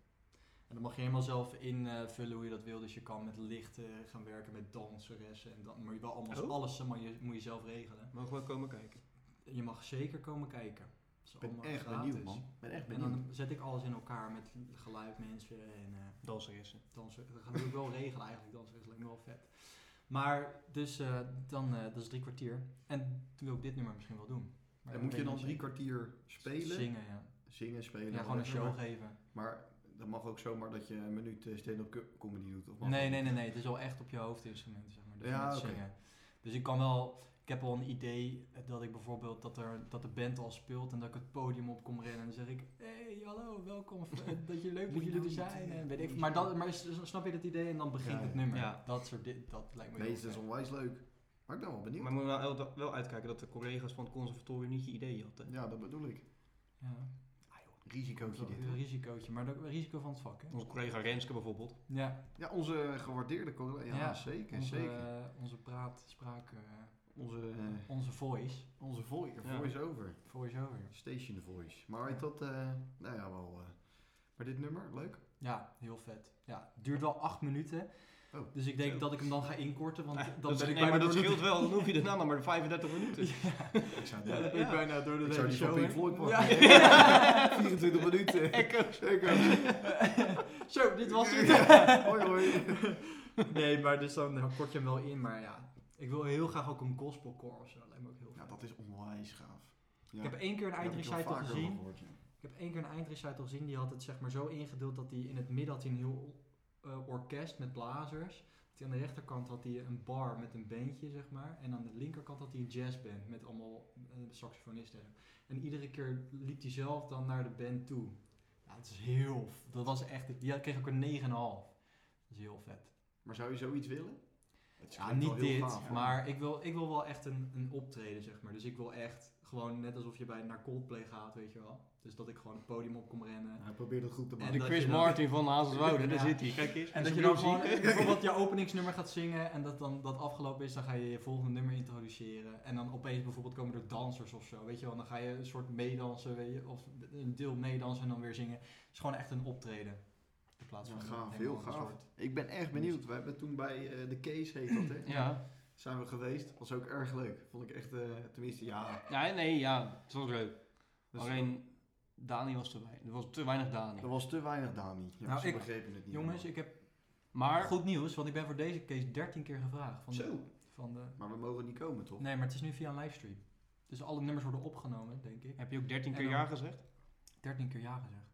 [SPEAKER 3] En dan mag je helemaal zelf invullen hoe je dat wil. Dus je kan met licht eh, gaan werken, met danseressen. En dan, maar je wel allemaal,
[SPEAKER 1] Oh.
[SPEAKER 3] alles eh, maar je, moet je zelf regelen.
[SPEAKER 1] Mogen we komen kijken?
[SPEAKER 3] Je mag zeker komen kijken. Dat is
[SPEAKER 2] ik ben
[SPEAKER 3] allemaal
[SPEAKER 2] echt
[SPEAKER 3] gratis.
[SPEAKER 2] benieuwd, man. Ik ben echt
[SPEAKER 3] En
[SPEAKER 2] benieuwd.
[SPEAKER 3] dan zet ik alles in elkaar met geluid, mensen en... eh,
[SPEAKER 1] Danseressen.
[SPEAKER 3] dansen. Dat gaan we ook wel regelen eigenlijk, dansen is lijkt me wel vet. Maar, dus eh, dan, eh, dat is drie kwartier. En toen wil ik dit nummer misschien wel doen. Maar
[SPEAKER 2] En
[SPEAKER 3] dat
[SPEAKER 2] moet je
[SPEAKER 3] weet
[SPEAKER 2] dan
[SPEAKER 3] ik
[SPEAKER 2] drie
[SPEAKER 3] niet
[SPEAKER 2] kwartier
[SPEAKER 3] zeker.
[SPEAKER 2] spelen?
[SPEAKER 3] Zingen, ja.
[SPEAKER 2] Zingen, spelen.
[SPEAKER 3] Ja, gewoon een
[SPEAKER 2] whatever.
[SPEAKER 3] show geven.
[SPEAKER 2] Maar dat mag ook zomaar dat je een minuut eh, stand-up co- comedy doet. Of mag
[SPEAKER 3] Nee,
[SPEAKER 2] dat
[SPEAKER 3] nee,
[SPEAKER 2] niet?
[SPEAKER 3] nee, nee. Het is wel echt op je hoofdinstrument, zeg maar. Dus
[SPEAKER 2] Ja,
[SPEAKER 3] met
[SPEAKER 2] oké.
[SPEAKER 3] zingen. Dus ik kan wel... Ik heb al een idee eh, dat ik bijvoorbeeld dat, er, dat de band al speelt en dat ik het podium op kom rennen en dan zeg ik, hey, hallo, welkom, eh, dat je leuk dat
[SPEAKER 2] Moet je
[SPEAKER 3] jullie er
[SPEAKER 2] nou niet,
[SPEAKER 3] zijn
[SPEAKER 2] eh,
[SPEAKER 3] en weet
[SPEAKER 2] moet
[SPEAKER 3] ik.
[SPEAKER 2] je
[SPEAKER 3] Maar, dat,
[SPEAKER 2] spelen.
[SPEAKER 3] maar s- snap je dat idee en dan begint
[SPEAKER 2] Ja,
[SPEAKER 3] het
[SPEAKER 2] ja.
[SPEAKER 3] nummer.
[SPEAKER 1] Ja.
[SPEAKER 3] Dat soort di- dat lijkt me
[SPEAKER 2] Nee,
[SPEAKER 3] heel
[SPEAKER 2] dat is
[SPEAKER 3] vet.
[SPEAKER 2] onwijs leuk. Maar ik ben wel benieuwd.
[SPEAKER 1] Maar moet je wel, wel- wel uitkijken dat de collega's van het conservatorium niet je idee hadden.
[SPEAKER 2] Ja, dat bedoel ik.
[SPEAKER 3] Ja.
[SPEAKER 2] Risicootje dit.
[SPEAKER 3] Een risicootje, maar ook een risico van het vak, hè?
[SPEAKER 1] Onze collega Renske bijvoorbeeld.
[SPEAKER 3] Ja,
[SPEAKER 2] Ja, onze gewaardeerde collega. Ja,
[SPEAKER 3] Ja,
[SPEAKER 2] zeker,
[SPEAKER 3] onze,
[SPEAKER 2] zeker.
[SPEAKER 3] eh, onze praat, spraak, eh,
[SPEAKER 2] Onze, eh,
[SPEAKER 3] onze voice,
[SPEAKER 2] onze vo-
[SPEAKER 1] Ja.
[SPEAKER 2] voice-over.
[SPEAKER 3] voice-over.
[SPEAKER 2] Station voice. Maar weet dat... eh, nou ja, wel... eh, maar dit nummer, leuk.
[SPEAKER 3] Ja, heel vet. Ja, het duurt wel acht minuten,
[SPEAKER 2] Oh.
[SPEAKER 3] dus ik denk
[SPEAKER 1] Zo.
[SPEAKER 3] dat ik hem dan ga inkorten, want
[SPEAKER 1] Eh,
[SPEAKER 3] dat,
[SPEAKER 1] dat,
[SPEAKER 3] ben ik
[SPEAKER 1] nee, maar
[SPEAKER 3] bijna
[SPEAKER 1] dat
[SPEAKER 3] door de-
[SPEAKER 1] scheelt wel, dan hoef je daarna nog maar 35 minuten.
[SPEAKER 2] Ik zou het
[SPEAKER 3] Ja, dat ben ik
[SPEAKER 1] Ja.
[SPEAKER 3] bijna door de hele
[SPEAKER 2] Ik zou die van
[SPEAKER 3] show
[SPEAKER 2] Pink
[SPEAKER 3] heen.
[SPEAKER 2] Floyd
[SPEAKER 3] Ja.
[SPEAKER 2] pakken. 24 minuten.
[SPEAKER 1] Echo's.
[SPEAKER 3] Zo, dit was het.
[SPEAKER 2] Ja, hoi, hoi.
[SPEAKER 3] Nee, maar dus dan kort je hem wel in, maar ja. Ik wil heel graag ook een gospelcore of zo, lijkt me ook heel
[SPEAKER 2] Ja,
[SPEAKER 3] vet.
[SPEAKER 2] dat is onwijs gaaf. Ja.
[SPEAKER 3] Ik heb één keer een
[SPEAKER 2] Daar heb ik wel
[SPEAKER 3] eindrecital
[SPEAKER 2] vaker
[SPEAKER 3] gezien.
[SPEAKER 2] van gehoord, ja.
[SPEAKER 3] Ik heb één keer een eindrecital gezien, die had het zeg maar zo ingedeeld dat hij in het midden had hij een heel eh, orkest met blazers. Dat hij aan de rechterkant had hij een bar met een bandje, zeg maar. En aan de linkerkant had hij een jazzband met allemaal eh, saxofonisten. en zo. En iedere keer liep hij zelf dan naar de band toe. Ja, dat is heel... f- Dat was echt... Die had- kreeg ook een 9,5. Dat is heel vet.
[SPEAKER 2] Maar zou je zoiets willen? Het
[SPEAKER 3] Ja,
[SPEAKER 2] klinkt wel
[SPEAKER 3] niet
[SPEAKER 2] heel
[SPEAKER 3] dit,
[SPEAKER 2] gaaf, hoor.
[SPEAKER 3] maar ik wil, ik wil wel echt een, een optreden, zeg maar. Dus ik wil echt gewoon net alsof je bij naar Coldplay gaat, weet je wel. Dus dat ik gewoon het podium op kom rennen.
[SPEAKER 2] Hij probeert het goed te
[SPEAKER 3] En
[SPEAKER 1] De
[SPEAKER 2] maken.
[SPEAKER 3] dat
[SPEAKER 1] Chris
[SPEAKER 3] je dan-
[SPEAKER 1] Martin van Hazelswoude, daar
[SPEAKER 3] Ja.
[SPEAKER 1] zit hij. Kijk eens.
[SPEAKER 3] En dat je dan gewoon bijvoorbeeld je openingsnummer gaat zingen en dat dan dat afgelopen is, dan ga je je volgende nummer introduceren. En dan opeens bijvoorbeeld komen er dansers of zo, weet je wel. Dan ga je een soort meedansen, weet je, of een deel meedansen en dan weer zingen. Het is gewoon echt een optreden. In plaats
[SPEAKER 2] Ja,
[SPEAKER 3] van
[SPEAKER 2] gaaf,
[SPEAKER 3] een
[SPEAKER 2] heel
[SPEAKER 3] ander
[SPEAKER 2] gaaf.
[SPEAKER 3] soort.
[SPEAKER 2] Ik ben echt benieuwd. We hebben toen bij eh, de Case, heet dat hè?
[SPEAKER 1] Ja.
[SPEAKER 2] Zijn we geweest. Was ook erg leuk. Vond ik echt, eh, tenminste, ja.
[SPEAKER 1] ja, nee, ja, het was leuk.
[SPEAKER 2] Dus-
[SPEAKER 1] Alleen, Dani was te weinig. Er was te weinig Dani.
[SPEAKER 2] Er was te weinig Dani. Ja,
[SPEAKER 3] Nou,
[SPEAKER 2] ze
[SPEAKER 3] ik-
[SPEAKER 2] begrepen het niet.
[SPEAKER 3] Jongens, ik heb
[SPEAKER 1] Maar,
[SPEAKER 3] goed nieuws, want ik ben voor deze case 13 keer gevraagd. Van De,
[SPEAKER 2] Zo.
[SPEAKER 3] van de,
[SPEAKER 2] Maar we mogen niet komen, toch?
[SPEAKER 3] nee, maar het is nu via een livestream. Dus alle nummers worden opgenomen, denk ik.
[SPEAKER 1] heb je ook 13 keer
[SPEAKER 3] En dan-
[SPEAKER 1] ja gezegd?
[SPEAKER 3] 13 keer ja gezegd.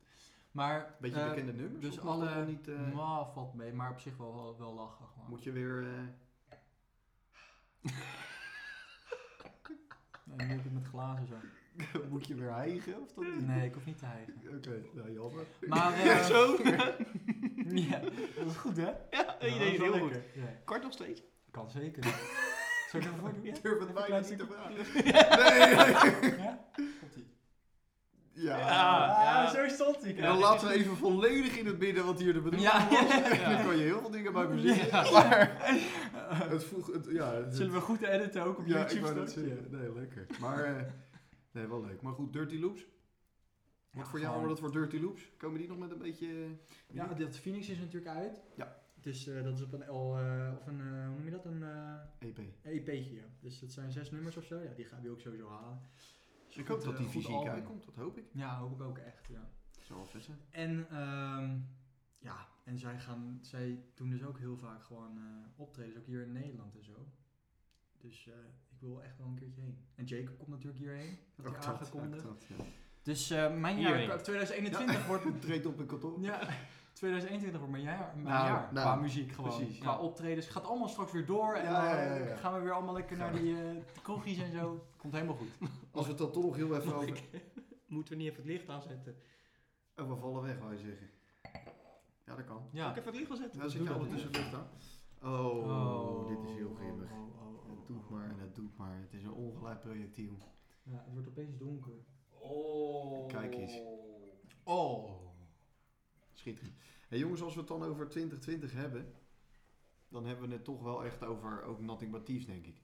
[SPEAKER 3] Maar,
[SPEAKER 2] Beetje
[SPEAKER 3] eh,
[SPEAKER 2] bekende nummers?
[SPEAKER 3] dus
[SPEAKER 2] of mag dat
[SPEAKER 3] alle-
[SPEAKER 2] nog Niet, eh,
[SPEAKER 3] mwah, valt mee, maar op zich wel, wel, wel lachen. gewoon.
[SPEAKER 2] moet je weer... eh,
[SPEAKER 3] En nu heb ik met glazen zo.
[SPEAKER 2] eh, Moet je weer hijgen of dat niet?
[SPEAKER 3] Nee, ik hoef niet te hijgen.
[SPEAKER 2] Oké, nou jammer.
[SPEAKER 3] Maar, eh,
[SPEAKER 1] Ja, zo.
[SPEAKER 3] ja,
[SPEAKER 2] Dat is goed hè?
[SPEAKER 1] ja,
[SPEAKER 3] dat
[SPEAKER 1] je
[SPEAKER 3] was
[SPEAKER 1] deed het
[SPEAKER 3] wel
[SPEAKER 1] heel goed.
[SPEAKER 3] lekker. Ja,
[SPEAKER 1] Kort nog steeds.
[SPEAKER 3] kan zeker. Zou ik dat voor doen? Ja?
[SPEAKER 2] Ik durf het bijna
[SPEAKER 3] klein
[SPEAKER 2] niet te
[SPEAKER 3] stukje.
[SPEAKER 2] vragen. Nee.
[SPEAKER 3] Ja? Komt-ie.
[SPEAKER 2] Ja.
[SPEAKER 1] Ja.
[SPEAKER 3] Ah, zo stond ik.
[SPEAKER 2] En dan laten we even volledig in het midden wat hier de bedoeling
[SPEAKER 3] Ja.
[SPEAKER 2] was.
[SPEAKER 1] Ja.
[SPEAKER 2] Dan kan je heel veel dingen bij muziek.
[SPEAKER 1] Ja.
[SPEAKER 2] Maar het vroeg... Het, ja, het-
[SPEAKER 3] Zullen we goed editen ook op
[SPEAKER 2] ja, ik
[SPEAKER 3] YouTube?
[SPEAKER 2] wou dat
[SPEAKER 3] straks?
[SPEAKER 2] zeggen. Nee, lekker. Maar, eh, nee, wel leuk. Maar goed, Dirty Loops.
[SPEAKER 3] Ja,
[SPEAKER 2] Wat voor jou
[SPEAKER 3] gewoon-
[SPEAKER 2] wordt het voor Dirty Loops? Komen die nog met een beetje... eh,
[SPEAKER 3] Ja, dat Phoenix is natuurlijk uit.
[SPEAKER 2] Ja.
[SPEAKER 3] Dus eh, dat is op een L, eh, of een, eh, hoe noem je dat, een eh
[SPEAKER 2] EP.
[SPEAKER 3] EP'tje. ja. Dus dat zijn zes nummers of zo. Ja, die gaan we ook sowieso halen. Dus
[SPEAKER 2] Ik
[SPEAKER 3] goed,
[SPEAKER 2] hoop dat
[SPEAKER 3] eh,
[SPEAKER 2] die
[SPEAKER 3] goed
[SPEAKER 2] fysiek
[SPEAKER 3] album.
[SPEAKER 2] uitkomt, dat hoop ik.
[SPEAKER 3] Ja, hoop ik ook echt, ja.
[SPEAKER 2] Zo alvast hè.
[SPEAKER 3] En, ehm, ja, en zij, gaan, zij doen dus ook heel vaak gewoon eh optredens, ook hier in Nederland en zo. Dus eh, ik wil echt wel een keertje heen. En Jacob komt natuurlijk hierheen, dat hij
[SPEAKER 2] Ook dat,
[SPEAKER 3] aangekondigd.
[SPEAKER 2] ook dat, ja.
[SPEAKER 3] Dus eh, mijn jaar,
[SPEAKER 1] Hierheen.
[SPEAKER 3] 2021 wordt...
[SPEAKER 2] Treedt op een kantoor.
[SPEAKER 3] Ja, 2021 wordt mijn jaar, mijn
[SPEAKER 2] Nou,
[SPEAKER 3] jaar
[SPEAKER 2] nou,
[SPEAKER 3] qua muziek gewoon.
[SPEAKER 2] precies,
[SPEAKER 3] qua
[SPEAKER 1] ja.
[SPEAKER 3] optredens. Gaat allemaal straks weer door en
[SPEAKER 2] Ja, ja,
[SPEAKER 3] dan
[SPEAKER 2] ja, ja.
[SPEAKER 3] gaan we weer allemaal lekker naar die eh kroegjes en zo. Komt helemaal goed.
[SPEAKER 2] Als we het dan toch nog heel even over...
[SPEAKER 1] Moeten we niet even het licht aanzetten?
[SPEAKER 2] Oh, we vallen weg, wou je zeggen. Ja, dat kan.
[SPEAKER 1] Zal
[SPEAKER 3] Ja.
[SPEAKER 1] ik even het licht aanzetten?
[SPEAKER 2] Dan zit
[SPEAKER 3] doe
[SPEAKER 2] je
[SPEAKER 3] dat,
[SPEAKER 2] ondertussen licht aan. Oh, dit is heel
[SPEAKER 3] oh,
[SPEAKER 2] grimmig.
[SPEAKER 3] oh, oh, oh,
[SPEAKER 2] Het doet
[SPEAKER 3] oh,
[SPEAKER 2] maar en
[SPEAKER 3] oh.
[SPEAKER 2] het doet maar. Het is een ongelijk projectiel.
[SPEAKER 3] Ja, het wordt opeens donker.
[SPEAKER 1] Oh.
[SPEAKER 2] Kijk eens.
[SPEAKER 3] Oh.
[SPEAKER 2] Schitterend. Hey, jongens, als we het dan over 2020 hebben, dan hebben we het toch wel echt over ook Nothing But Thieves, denk ik.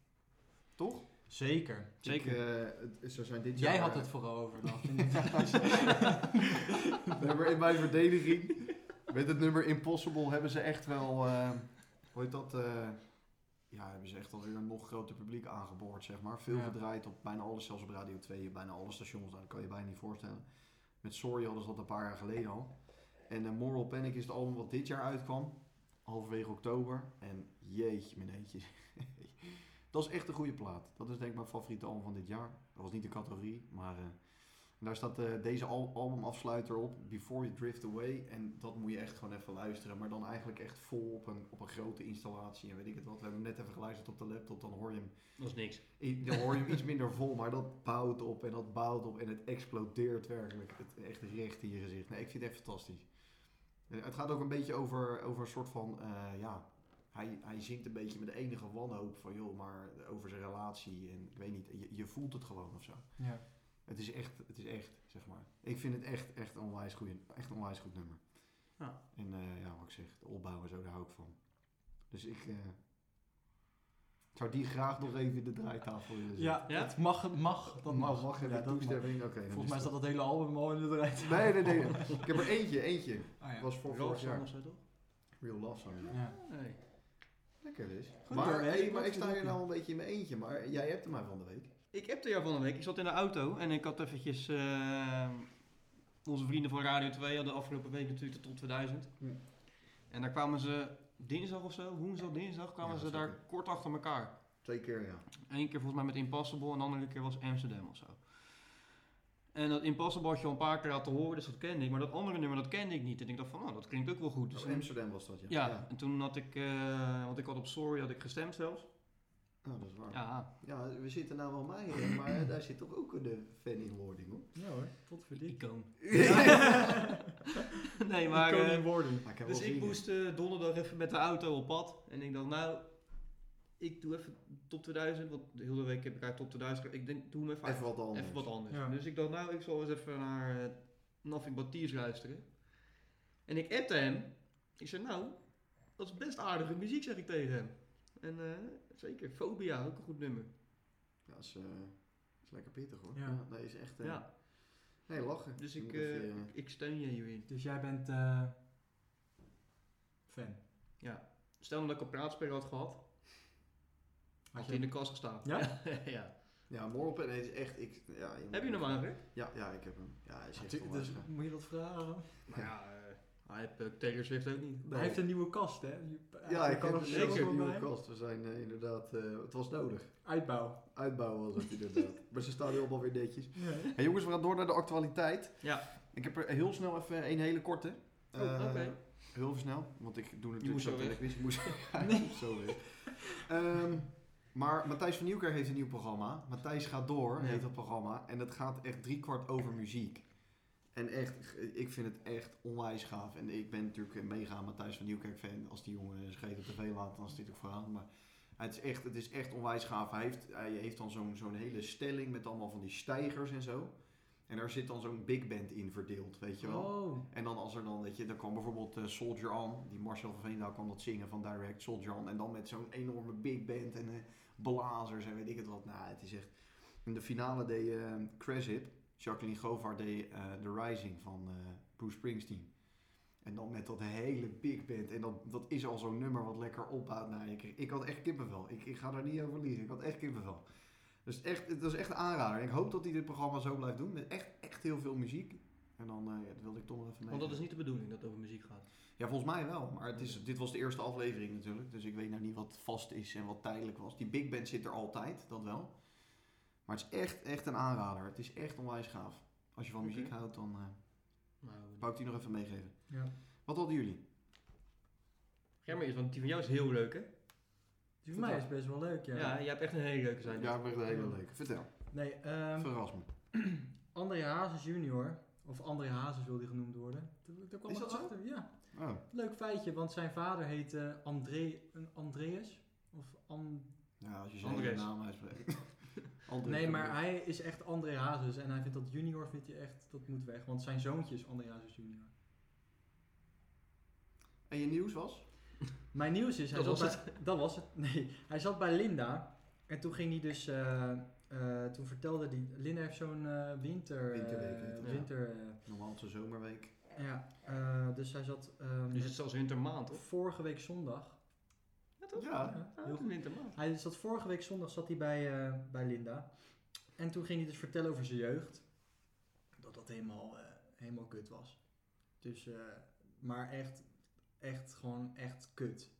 [SPEAKER 2] Toch?
[SPEAKER 3] Zeker.
[SPEAKER 1] Zeker.
[SPEAKER 2] Ik, eh, het- ze zijn dit jaar...
[SPEAKER 3] Jij had het vooral over. Dan.
[SPEAKER 2] Nee, maar in mijn verdediging, met het nummer Impossible, hebben ze echt wel... eh, hoe heet dat? eh, ja, hebben ze echt alweer een nog groter publiek aangeboord, zeg maar. Veel
[SPEAKER 3] Ja.
[SPEAKER 2] gedraaid op bijna alles, zelfs op Radio 2, bijna alle stations. nou, Dat kan je bijna niet voorstellen. Met Sorry hadden ze dat een paar jaar geleden al. En eh, Moral Panic is het album wat dit jaar uitkwam. Halverwege oktober. En jeetje, mijn eentje. dat is echt een goede plaat. Dat is denk ik mijn favoriete album van dit jaar. Dat was niet de categorie, maar... eh, en daar staat eh, deze al- albumafsluiter op, Before You Drift Away. En dat moet je echt gewoon even luisteren. Maar dan eigenlijk echt vol op een, op een grote installatie en weet ik het wat. We hebben hem net even geluisterd op de laptop, dan hoor je hem,
[SPEAKER 1] Dat is niks.
[SPEAKER 2] i- dan hoor je hem iets minder vol. Maar dat bouwt op en dat bouwt op en het explodeert werkelijk. Het, echt recht in je gezicht. Nee, ik vind het echt fantastisch. Eh, het gaat ook een beetje over, over een soort van, eh, ja... Hij, hij zingt een beetje met de enige wanhoop van, joh, maar over zijn relatie. En ik weet niet, je, je voelt het gewoon of zo.
[SPEAKER 3] ja.
[SPEAKER 2] Het is echt, het is echt, zeg maar. Ik vind het echt, echt een onwijs goed, echt een onwijs goed nummer.
[SPEAKER 1] Ja.
[SPEAKER 2] En eh, ja, wat ik zeg, de opbouw en zo, daar hou ik van. Dus ik eh, zou die graag nog even in de draaitafel willen zetten.
[SPEAKER 3] ja,
[SPEAKER 1] Ja?
[SPEAKER 3] dat mag. mag dat
[SPEAKER 2] mag, mag
[SPEAKER 3] Ja,
[SPEAKER 2] even
[SPEAKER 3] dat mag.
[SPEAKER 2] toestemming. Oké, dan
[SPEAKER 3] Volgens mij staat dat hele album al in de
[SPEAKER 2] het-
[SPEAKER 3] rij.
[SPEAKER 2] Nee, nee, nee. ik heb er eentje, eentje.
[SPEAKER 3] Ah, ja.
[SPEAKER 2] Was voor vorig
[SPEAKER 1] Roos
[SPEAKER 2] jaar.
[SPEAKER 1] of zo toch?
[SPEAKER 2] Real Love Song. ja.
[SPEAKER 3] Ja.
[SPEAKER 1] Nee.
[SPEAKER 2] Lekker dus.
[SPEAKER 3] Goed
[SPEAKER 2] maar
[SPEAKER 3] hoor, hè?
[SPEAKER 2] hey, maar ik sta
[SPEAKER 3] Goed
[SPEAKER 2] hier nou een beetje in mijn eentje, maar jij hebt hem maar van de week.
[SPEAKER 1] Ik heb er jou van de week. Ik zat in de auto en ik had eventjes... eh, onze vrienden van Radio 2 hadden afgelopen week natuurlijk de top 2000.
[SPEAKER 2] Ja.
[SPEAKER 1] En daar kwamen ze dinsdag of zo, woensdag, dinsdag, kwamen
[SPEAKER 2] Ja,
[SPEAKER 1] ze daar
[SPEAKER 2] zeker.
[SPEAKER 1] kort achter elkaar.
[SPEAKER 2] Twee keer, ja.
[SPEAKER 1] Eén keer volgens mij met Impossible en de andere keer was Amsterdam of zo. En dat Impossible had je al een paar keer laten horen, dus dat kende ik. Maar dat andere nummer, dat kende ik niet. En ik dacht van, nou, dat klinkt ook wel goed. Dus
[SPEAKER 2] Dus
[SPEAKER 1] toen-
[SPEAKER 2] Amsterdam was dat, ja.
[SPEAKER 1] ja, en toen had ik, eh, want ik had op Sorry had ik gestemd zelfs.
[SPEAKER 2] Oh, dat is waar. Ja.
[SPEAKER 1] Ja,
[SPEAKER 2] we zitten nou wel mij, hè, maar daar zit toch ook een fan in wording, hoor.
[SPEAKER 3] ja hoor, tot verdiend.
[SPEAKER 1] icoon.
[SPEAKER 2] Ja.
[SPEAKER 1] nee, maar... eh,
[SPEAKER 3] in woorden.
[SPEAKER 2] Maar ik heb
[SPEAKER 1] dus
[SPEAKER 2] wel
[SPEAKER 1] ik
[SPEAKER 2] zin in.
[SPEAKER 1] moest eh, donderdag even met de auto op pad. En ik dacht, nou, ik doe even top 2000. Want de hele week heb ik uit top 2000. ge- Ik denk, doe hem even,
[SPEAKER 2] Even wat anders.
[SPEAKER 1] Even wat anders.
[SPEAKER 3] Ja.
[SPEAKER 1] Dus ik dacht, nou, ik zal eens even naar eh, Nothing But Tears luisteren. En ik appte hem. Ik zei, nou, dat is best aardige muziek, zeg ik tegen hem. En eh, zeker, Phobia, ook een goed nummer.
[SPEAKER 2] Ja, is, eh, is lekker pittig hoor.
[SPEAKER 3] Ja.
[SPEAKER 2] Ja. Nee, is echt... eh,
[SPEAKER 1] Ja,
[SPEAKER 2] Nee, lachen.
[SPEAKER 1] dus
[SPEAKER 2] Je
[SPEAKER 1] ik,
[SPEAKER 2] moet even, eh,
[SPEAKER 1] eh, ik- ik steun je hierin.
[SPEAKER 3] Dus jij bent eh, fan.
[SPEAKER 1] Stel dat ik een praatspeler had gehad, had
[SPEAKER 3] Had
[SPEAKER 1] je in
[SPEAKER 3] je...
[SPEAKER 1] de kast gestaan.
[SPEAKER 3] Ja?
[SPEAKER 1] ja.
[SPEAKER 2] ja, morgen op nee, is echt... Ik, ja, je moet-
[SPEAKER 1] Heb je hem aangekeken?
[SPEAKER 2] Ja, ja, ik heb hem. Ja, hij is echt
[SPEAKER 3] Natuurlijk,
[SPEAKER 2] onwijs
[SPEAKER 3] dus
[SPEAKER 2] gaaf.
[SPEAKER 3] moet je dat vragen?
[SPEAKER 2] Oh.
[SPEAKER 1] Maar ja, eh, hij heeft eh, Taylor Swift ook niet.
[SPEAKER 2] Nee.
[SPEAKER 3] Hij heeft een nieuwe kast, hè?
[SPEAKER 2] Ja, ik heb
[SPEAKER 3] kan
[SPEAKER 2] hem
[SPEAKER 3] nog
[SPEAKER 2] zeker
[SPEAKER 3] zeker
[SPEAKER 2] een nieuwe
[SPEAKER 3] bij.
[SPEAKER 2] kast. We zijn eh, inderdaad... eh, het was nodig.
[SPEAKER 3] Uitbouw.
[SPEAKER 2] Uitbouwen was het inderdaad. maar ze staan nu allemaal weer netjes.
[SPEAKER 3] Ja.
[SPEAKER 2] Hey, jongens, we gaan door naar de actualiteit.
[SPEAKER 1] Ja.
[SPEAKER 2] Ik heb er heel snel even een hele korte.
[SPEAKER 1] Oh, oké.
[SPEAKER 2] Eh, Heel snel, want ik doe natuurlijk
[SPEAKER 1] moest
[SPEAKER 2] zo
[SPEAKER 1] zo
[SPEAKER 2] dat
[SPEAKER 1] weg.
[SPEAKER 2] ik wist. Ik moest Ja, ik moest zo weg. Ehm, Maar Matthijs van Nieuwkerk heeft een nieuw programma. Matthijs gaat door,
[SPEAKER 1] Ja.
[SPEAKER 2] heet dat programma. En dat gaat echt driekwart over muziek. En echt, ik vind het echt onwijs gaaf. En ik ben natuurlijk een mega Matthijs van Nieuwkerk fan. Als die jongen scheet op tv laat, dan is dit ook verhaal. Maar het is echt, het is echt onwijs gaaf. Hij heeft, hij heeft dan zo'n zo'n hele stelling met allemaal van die stijgers en zo. En daar zit dan zo'n big band in verdeeld, weet je wel.
[SPEAKER 3] Oh,
[SPEAKER 2] En dan als er dan, weet je, dan kwam bijvoorbeeld eh, Soldier On, die Marcel van Veenendaal kwam dat zingen van Direct Soldier On. En dan met zo'n enorme big band en eh, blazers en weet ik het wat. Nou, het is echt... In de finale deed eh, Crash It, Jacqueline Govaert deed eh, The Rising van eh, Bruce Springsteen. En dan met dat hele big band. En dat, dat is al zo'n nummer wat lekker opbouwt. Nou, ik, ik had echt kippenvel. Ik, ik ga daar niet over liegen. Ik had echt kippenvel. Dus echt, het was echt een aanrader. En ik hoop dat hij dit programma zo blijft doen. Met echt, echt heel veel muziek. En dan eh, ja, dat wilde ik toch nog even mee.
[SPEAKER 1] Want dat is niet de bedoeling dat het over muziek gaat.
[SPEAKER 2] Ja, volgens mij wel. Maar het is, dit was de eerste aflevering natuurlijk. Dus ik weet nou niet wat vast is en wat tijdelijk was. Die big band zit er altijd, dat wel. Maar het is echt, echt een aanrader. Het is echt onwijs gaaf. Als je van
[SPEAKER 1] Oké.
[SPEAKER 2] muziek houdt, dan eh
[SPEAKER 1] Nou,
[SPEAKER 2] wou ik die nog even meegeven.
[SPEAKER 3] ja.
[SPEAKER 2] Wat hadden jullie?
[SPEAKER 1] Germer is, want die van jou is heel leuk, hè?
[SPEAKER 3] Die voor mij is best wel leuk, ja.
[SPEAKER 1] Ja, jij hebt echt een hele leuke zijn.
[SPEAKER 2] Ja, echt een hele leuke. Vertel.
[SPEAKER 3] Nee, ehm,
[SPEAKER 2] Verras me.
[SPEAKER 3] André Hazes junior, of André Hazes wil die genoemd worden. Daar, daar kwam
[SPEAKER 2] Is
[SPEAKER 3] ik
[SPEAKER 2] dat zo?
[SPEAKER 3] achter, ja.
[SPEAKER 2] Oh,
[SPEAKER 3] Leuk feitje, want zijn vader heet eh, André, een Andreas. Of An-
[SPEAKER 2] ja, als je zijn hele
[SPEAKER 1] Andres.
[SPEAKER 2] naam uitspreekt. Andres
[SPEAKER 3] nee, maar
[SPEAKER 2] natuurlijk.
[SPEAKER 3] hij is echt André Hazes en hij vindt dat junior, vindt hij echt, dat moet weg. Want zijn zoontje is André Hazes junior.
[SPEAKER 2] En je nieuws was?
[SPEAKER 3] Mijn nieuws is, hij
[SPEAKER 1] Dat
[SPEAKER 3] zat bij, dat was het. Nee, hij zat bij Linda. En toen ging hij dus, eh, eh, toen vertelde hij, Linda heeft zo'n eh, winter... eh,
[SPEAKER 2] Winterweek heet dat,
[SPEAKER 1] ja.
[SPEAKER 3] winter,
[SPEAKER 2] Normaal het is een zomerweek.
[SPEAKER 3] eh, ja, eh, dus hij zat ehm,
[SPEAKER 1] Dus het is zelfs wintermaand, of?
[SPEAKER 3] vorige week zondag.
[SPEAKER 1] Ja, toch?
[SPEAKER 2] Ja.
[SPEAKER 1] Ah,
[SPEAKER 3] heel
[SPEAKER 1] het is wintermaand.
[SPEAKER 3] Hij zat vorige week zondag zat hij bij, eh, bij Linda. En toen ging hij dus vertellen over zijn jeugd. Dat dat helemaal, eh, helemaal kut was. Dus, eh, maar echt, echt gewoon echt kut.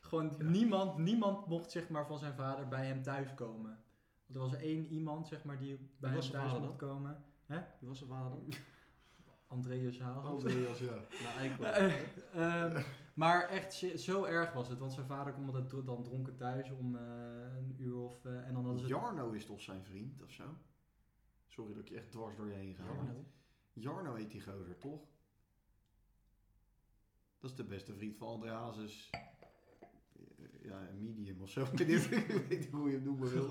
[SPEAKER 3] gewoon niemand, niemand mocht zeg maar van zijn vader bij hem thuis komen. Want er was er één iemand zeg maar die bij
[SPEAKER 1] was
[SPEAKER 3] hem
[SPEAKER 1] zijn
[SPEAKER 3] thuis
[SPEAKER 1] vader
[SPEAKER 3] mocht komen.
[SPEAKER 1] Wie was zijn vader dan?
[SPEAKER 3] Andreas
[SPEAKER 1] Oh,
[SPEAKER 3] Haal.
[SPEAKER 2] Andreas, ja.
[SPEAKER 1] Nou, ik wel.
[SPEAKER 3] Eh, ehm, maar echt, zo- zo erg was het. Want zijn vader kwam altijd dro- dan dronken thuis om eh, een uur of... eh, en dan hadden ze
[SPEAKER 2] Jarno is toch zijn vriend of zo? Sorry dat ik je echt dwars door je heen ga. maar-
[SPEAKER 1] Jarno.
[SPEAKER 2] Jarno heet die gozer, toch? Dat is de beste vriend van André Hazes. Eh, Ja, een medium of zo. Ik weet niet- ik weet niet hoe je hem noemen wil.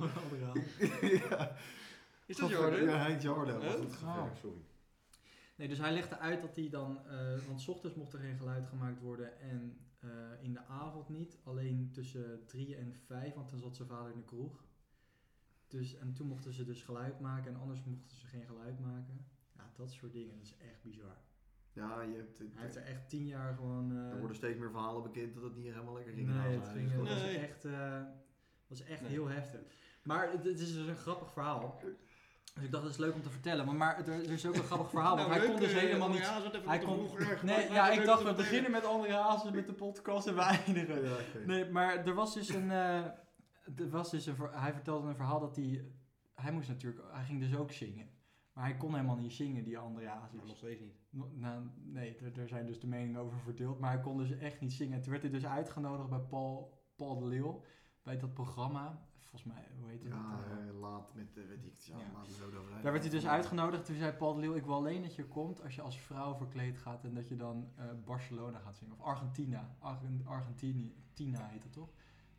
[SPEAKER 2] ja.
[SPEAKER 1] Is dat Jordan?
[SPEAKER 2] Ja, hij heet Jarno.
[SPEAKER 1] Huh?
[SPEAKER 2] Wat een gevaar,
[SPEAKER 3] Oh.
[SPEAKER 2] sorry.
[SPEAKER 3] Nee, dus hij legde uit dat hij dan, eh, want 's ochtends mocht er geen geluid gemaakt worden en eh, in de avond niet, alleen tussen drie en vijf, want dan zat zijn vader in de kroeg. Dus, en toen mochten ze dus geluid maken en anders mochten ze geen geluid maken. Ja, dat soort dingen, dat is echt bizar.
[SPEAKER 2] Ja, je hebt...
[SPEAKER 3] Hij heeft er echt tien jaar gewoon... eh,
[SPEAKER 2] er worden steeds meer verhalen bekend dat het niet helemaal lekker ging. in
[SPEAKER 3] Nee,
[SPEAKER 2] Hazen.
[SPEAKER 3] het ging,
[SPEAKER 2] Dus
[SPEAKER 3] dat
[SPEAKER 2] dat-
[SPEAKER 1] Nee.
[SPEAKER 3] was echt, eh, was echt
[SPEAKER 1] Nee.
[SPEAKER 3] heel heftig. Maar het, het is dus een grappig verhaal. Dus ik dacht, dat is leuk om te vertellen. Maar, maar het, er is ook een grappig verhaal.
[SPEAKER 1] Nou,
[SPEAKER 3] want hij kon
[SPEAKER 1] eh,
[SPEAKER 3] dus helemaal niet... Hij kon, nee, ja, ik dacht, we beginnen met André Hazes met de podcast en we eindigen.
[SPEAKER 2] Ja, oké.
[SPEAKER 3] Nee, maar er was dus een... eh, er was dus een ver- hij vertelde een verhaal dat hij... Hij moest natuurlijk... Hij ging dus ook zingen. Maar hij kon helemaal niet zingen, die André Hazes.
[SPEAKER 1] Maar nog steeds niet.
[SPEAKER 3] No- Nou, nee, daar- daar zijn dus de meningen over verdeeld. Maar hij kon dus echt niet zingen. En toen werd hij dus uitgenodigd bij Paul, Paul de Leeuw. Bij dat programma. Volgens mij, hoe heet het?
[SPEAKER 2] Ja,
[SPEAKER 3] Eh,
[SPEAKER 2] eh, laat met, eh, weet ik het, ja,
[SPEAKER 3] Ja.
[SPEAKER 2] laat het zo doorheen.
[SPEAKER 3] daar werd hij dus uitgenodigd. Toen zei Paul de Leeuw, ik wil alleen dat je komt als je als vrouw verkleed gaat. En dat je dan eh, Barcelona gaat zingen. Of Argentina. Argen- Argentini. Tina heet dat toch?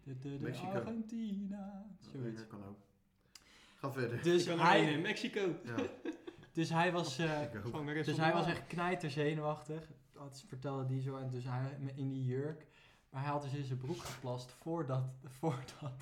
[SPEAKER 3] De, de, de
[SPEAKER 2] Mexico.
[SPEAKER 3] Argentina. Zoiets.
[SPEAKER 2] Dat kan ook. Ga verder.
[SPEAKER 3] Dus
[SPEAKER 1] ik kan alleen
[SPEAKER 3] hij,
[SPEAKER 1] in Mexico.
[SPEAKER 2] Ja,
[SPEAKER 3] dus hij was... eh,
[SPEAKER 2] ik ook.
[SPEAKER 1] Gewoon weer
[SPEAKER 3] Dus hij was echt knijter zenuwachtig. Dat vertelde die zo. En dus hij in die jurk. Maar hij had dus in zijn broek geplast voordat, voordat,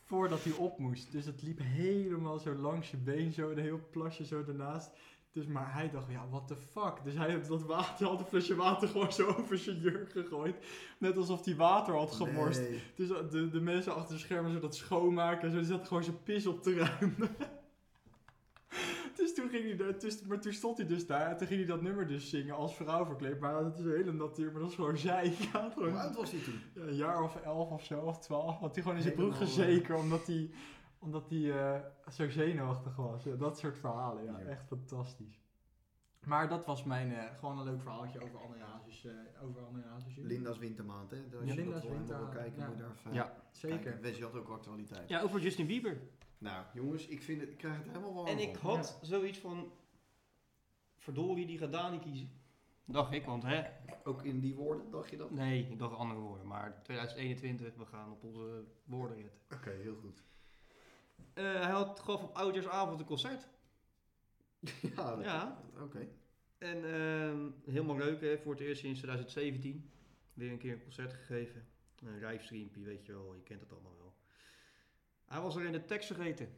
[SPEAKER 3] voordat hij op moest. Dus het liep helemaal zo langs je been. Zo een heel plasje zo daarnaast. Dus maar hij dacht, ja, what the fuck. Dus hij heeft dat water, had een flesje water gewoon zo over zijn jurk gegooid. Net alsof hij water had gemorst.
[SPEAKER 2] Nee.
[SPEAKER 3] Dus de, de mensen achter de schermen zo dat schoonmaken en zo, die zaten gewoon zijn pis op te ruimen. dus toen ging hij daar, dus, maar toen stond hij dus daar en toen ging hij dat nummer dus zingen als vrouw verkleed. Maar dat is een hele natuur, maar dat is gewoon zij. Ja,
[SPEAKER 2] Hoe
[SPEAKER 3] gewoon,
[SPEAKER 2] oud was hij toen?
[SPEAKER 3] ja, een jaar of elf of zo, of twaalf, had hij gewoon in zijn broek
[SPEAKER 2] Helemaal,
[SPEAKER 3] gezeken omdat hij, omdat hij eh, zo zenuwachtig was. Ja, dat soort verhalen, ja,
[SPEAKER 2] Ja.
[SPEAKER 3] echt fantastisch. Maar dat was mijn, eh, gewoon een leuk verhaaltje over André Hazes. eh, over André Hazes junior.
[SPEAKER 2] Linda's wintermaand, hè? Als
[SPEAKER 3] Ja,
[SPEAKER 2] je
[SPEAKER 3] Linda's
[SPEAKER 2] dat wil helemaal wil
[SPEAKER 3] wintermaand,
[SPEAKER 2] kijken,
[SPEAKER 3] ja.
[SPEAKER 2] moet je daar even
[SPEAKER 1] Ja.
[SPEAKER 3] Zeker.
[SPEAKER 2] kijken. Wes, je had ook actualiteit.
[SPEAKER 1] Ja, over Justin Bieber.
[SPEAKER 2] Nou, jongens, ik, vind het, ik krijg het helemaal warm
[SPEAKER 1] En
[SPEAKER 2] van.
[SPEAKER 1] ik had zoiets van, verdorie, die gaat Dani kiezen. Dacht ik, want hè?
[SPEAKER 2] Ook in die woorden, dacht je dat? Oké,
[SPEAKER 1] Nee, ik dacht andere woorden. Maar 2021, we gaan op onze woorden letten.
[SPEAKER 2] heel goed.
[SPEAKER 1] Eh, hij had, gaf op Oudjaarsavond een concert.
[SPEAKER 2] ja, dat-
[SPEAKER 1] Ja.
[SPEAKER 2] oké.
[SPEAKER 1] En ehm, helemaal leuk, hè? voor het eerst sinds 2017. Weer een keer een concert gegeven. Een livestreampje, weet je wel, je kent het allemaal wel. Hij was er in de tekst vergeten.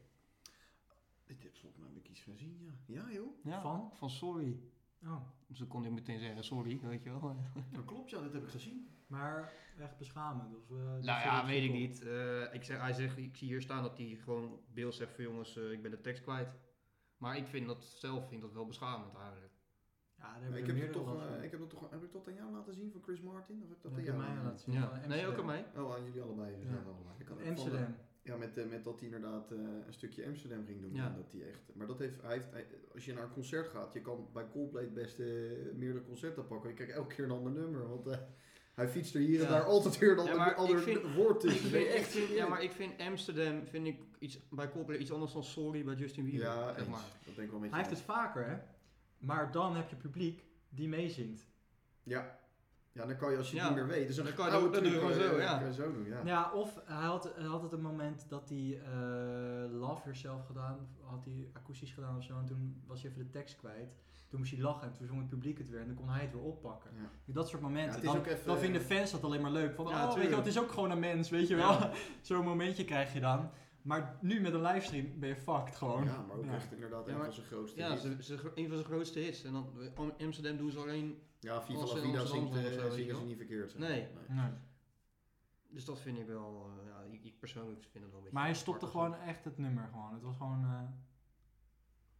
[SPEAKER 2] Dit heb volgens mij heb ik iets gezien, ja. Ja, joh.
[SPEAKER 3] Van?
[SPEAKER 1] Van sorry.
[SPEAKER 3] Oh,
[SPEAKER 1] Dus dan kon hij meteen zeggen sorry, weet je wel.
[SPEAKER 2] Dat klopt, ja, dat heb ik gezien.
[SPEAKER 3] maar echt beschamend. Of, eh, dat
[SPEAKER 1] Nou
[SPEAKER 3] je
[SPEAKER 1] ja,
[SPEAKER 3] dat
[SPEAKER 1] weet ik
[SPEAKER 3] goed
[SPEAKER 1] niet. Eh, ik zeg, hij zegt, ik zie hier staan dat hij gewoon beeld zegt van jongens, eh, ik ben de tekst kwijt. Maar ik vind dat zelf vind dat wel beschamend
[SPEAKER 3] vond.
[SPEAKER 1] eigenlijk.
[SPEAKER 3] Ja, daar heb
[SPEAKER 2] ik,
[SPEAKER 3] er
[SPEAKER 2] heb het
[SPEAKER 3] meerdere
[SPEAKER 2] toch,
[SPEAKER 3] last
[SPEAKER 2] eh,
[SPEAKER 3] van.
[SPEAKER 2] ik heb eh, dat toch, heb ik dat aan jou laten zien van Chris Martin? Of heb ik dat
[SPEAKER 3] Dat
[SPEAKER 2] aan
[SPEAKER 3] heb je
[SPEAKER 2] jou
[SPEAKER 3] mij laten zien. van
[SPEAKER 1] Nee, ook
[SPEAKER 3] Amsterdam.
[SPEAKER 1] aan mij.
[SPEAKER 2] Oh, aan jullie allebei.
[SPEAKER 3] Ja.
[SPEAKER 2] Ja. allebei. Ik had ook van de-
[SPEAKER 3] Amsterdam.
[SPEAKER 2] Ja, met, eh, met dat hij inderdaad eh, een stukje Amsterdam ging doen.
[SPEAKER 1] Ja.
[SPEAKER 2] En dat hij echt, maar dat heeft, hij heeft, hij- als je naar een concert gaat, je kan bij Coldplay het beste eh, meerdere concerten pakken. Je krijgt elke keer een ander nummer, want eh, hij fietst er hier en
[SPEAKER 1] Ja.
[SPEAKER 2] daar altijd weer dat
[SPEAKER 1] Ja,
[SPEAKER 2] ander,
[SPEAKER 1] maar
[SPEAKER 2] ander
[SPEAKER 1] ik vind-
[SPEAKER 2] woord
[SPEAKER 1] Ik
[SPEAKER 2] tussen.
[SPEAKER 1] vind,
[SPEAKER 2] Nee,
[SPEAKER 1] ik vind- ja,
[SPEAKER 2] serieus.
[SPEAKER 1] maar ik vind Amsterdam vind ik iets, bij Coldplay iets anders dan sorry bij Justin Bieber.
[SPEAKER 2] Ja,
[SPEAKER 1] zeg
[SPEAKER 2] eens.
[SPEAKER 1] maar.
[SPEAKER 2] dat denk ik wel een beetje.
[SPEAKER 3] Hij heeft het vaker, hè? Maar dan heb je publiek die meezingt.
[SPEAKER 2] Ja. ja, dan kan je als je het
[SPEAKER 1] Ja.
[SPEAKER 2] niet meer weet. Dus
[SPEAKER 1] Dan kan je dat- dat doe je gewoon zo, ja.
[SPEAKER 2] kan je zo doen, ja.
[SPEAKER 3] Nou Ja, of hij had, hij had het een moment dat hij eh, Love Yourself gedaan, had hij akoestisch gedaan of zo. En toen was hij even de tekst kwijt. Toen moest hij lachen en toen zong het publiek het weer en dan kon hij het weer oppakken.
[SPEAKER 2] Ja.
[SPEAKER 3] Dat soort momenten.
[SPEAKER 2] Ja, het is
[SPEAKER 3] dan,
[SPEAKER 2] ook even-
[SPEAKER 3] dan vinden fans dat alleen maar leuk. Van,
[SPEAKER 1] Ja,
[SPEAKER 3] oh, weet je wel,
[SPEAKER 1] tuurlijk.
[SPEAKER 3] het is ook gewoon een mens, weet je wel. Zo'n momentje krijg je dan. Maar nu met een livestream ben je fucked gewoon.
[SPEAKER 2] Ja, maar ook
[SPEAKER 3] Ja.
[SPEAKER 2] echt inderdaad
[SPEAKER 1] Ja,
[SPEAKER 2] een
[SPEAKER 1] maar-
[SPEAKER 2] van zijn grootste
[SPEAKER 1] Ja,
[SPEAKER 2] hits.
[SPEAKER 1] ze, ze, een van zijn grootste hits. En dan Am- Amsterdam doen ze alleen.
[SPEAKER 2] Ja, Viva
[SPEAKER 1] Als
[SPEAKER 2] La
[SPEAKER 1] in
[SPEAKER 2] Vida
[SPEAKER 1] Amsterdam
[SPEAKER 2] zingt, eh,
[SPEAKER 1] of zo, weet je
[SPEAKER 2] zingen ze
[SPEAKER 1] wel.
[SPEAKER 2] niet verkeerd. zeg.
[SPEAKER 1] Nee.
[SPEAKER 3] Nee.
[SPEAKER 1] Dus dat vind ik wel. eh, ja, ik, ik persoonlijk vind het wel een beetje.
[SPEAKER 3] Maar hij
[SPEAKER 1] apart
[SPEAKER 3] stopte
[SPEAKER 1] of zo.
[SPEAKER 3] gewoon echt het nummer gewoon. Het was gewoon... eh,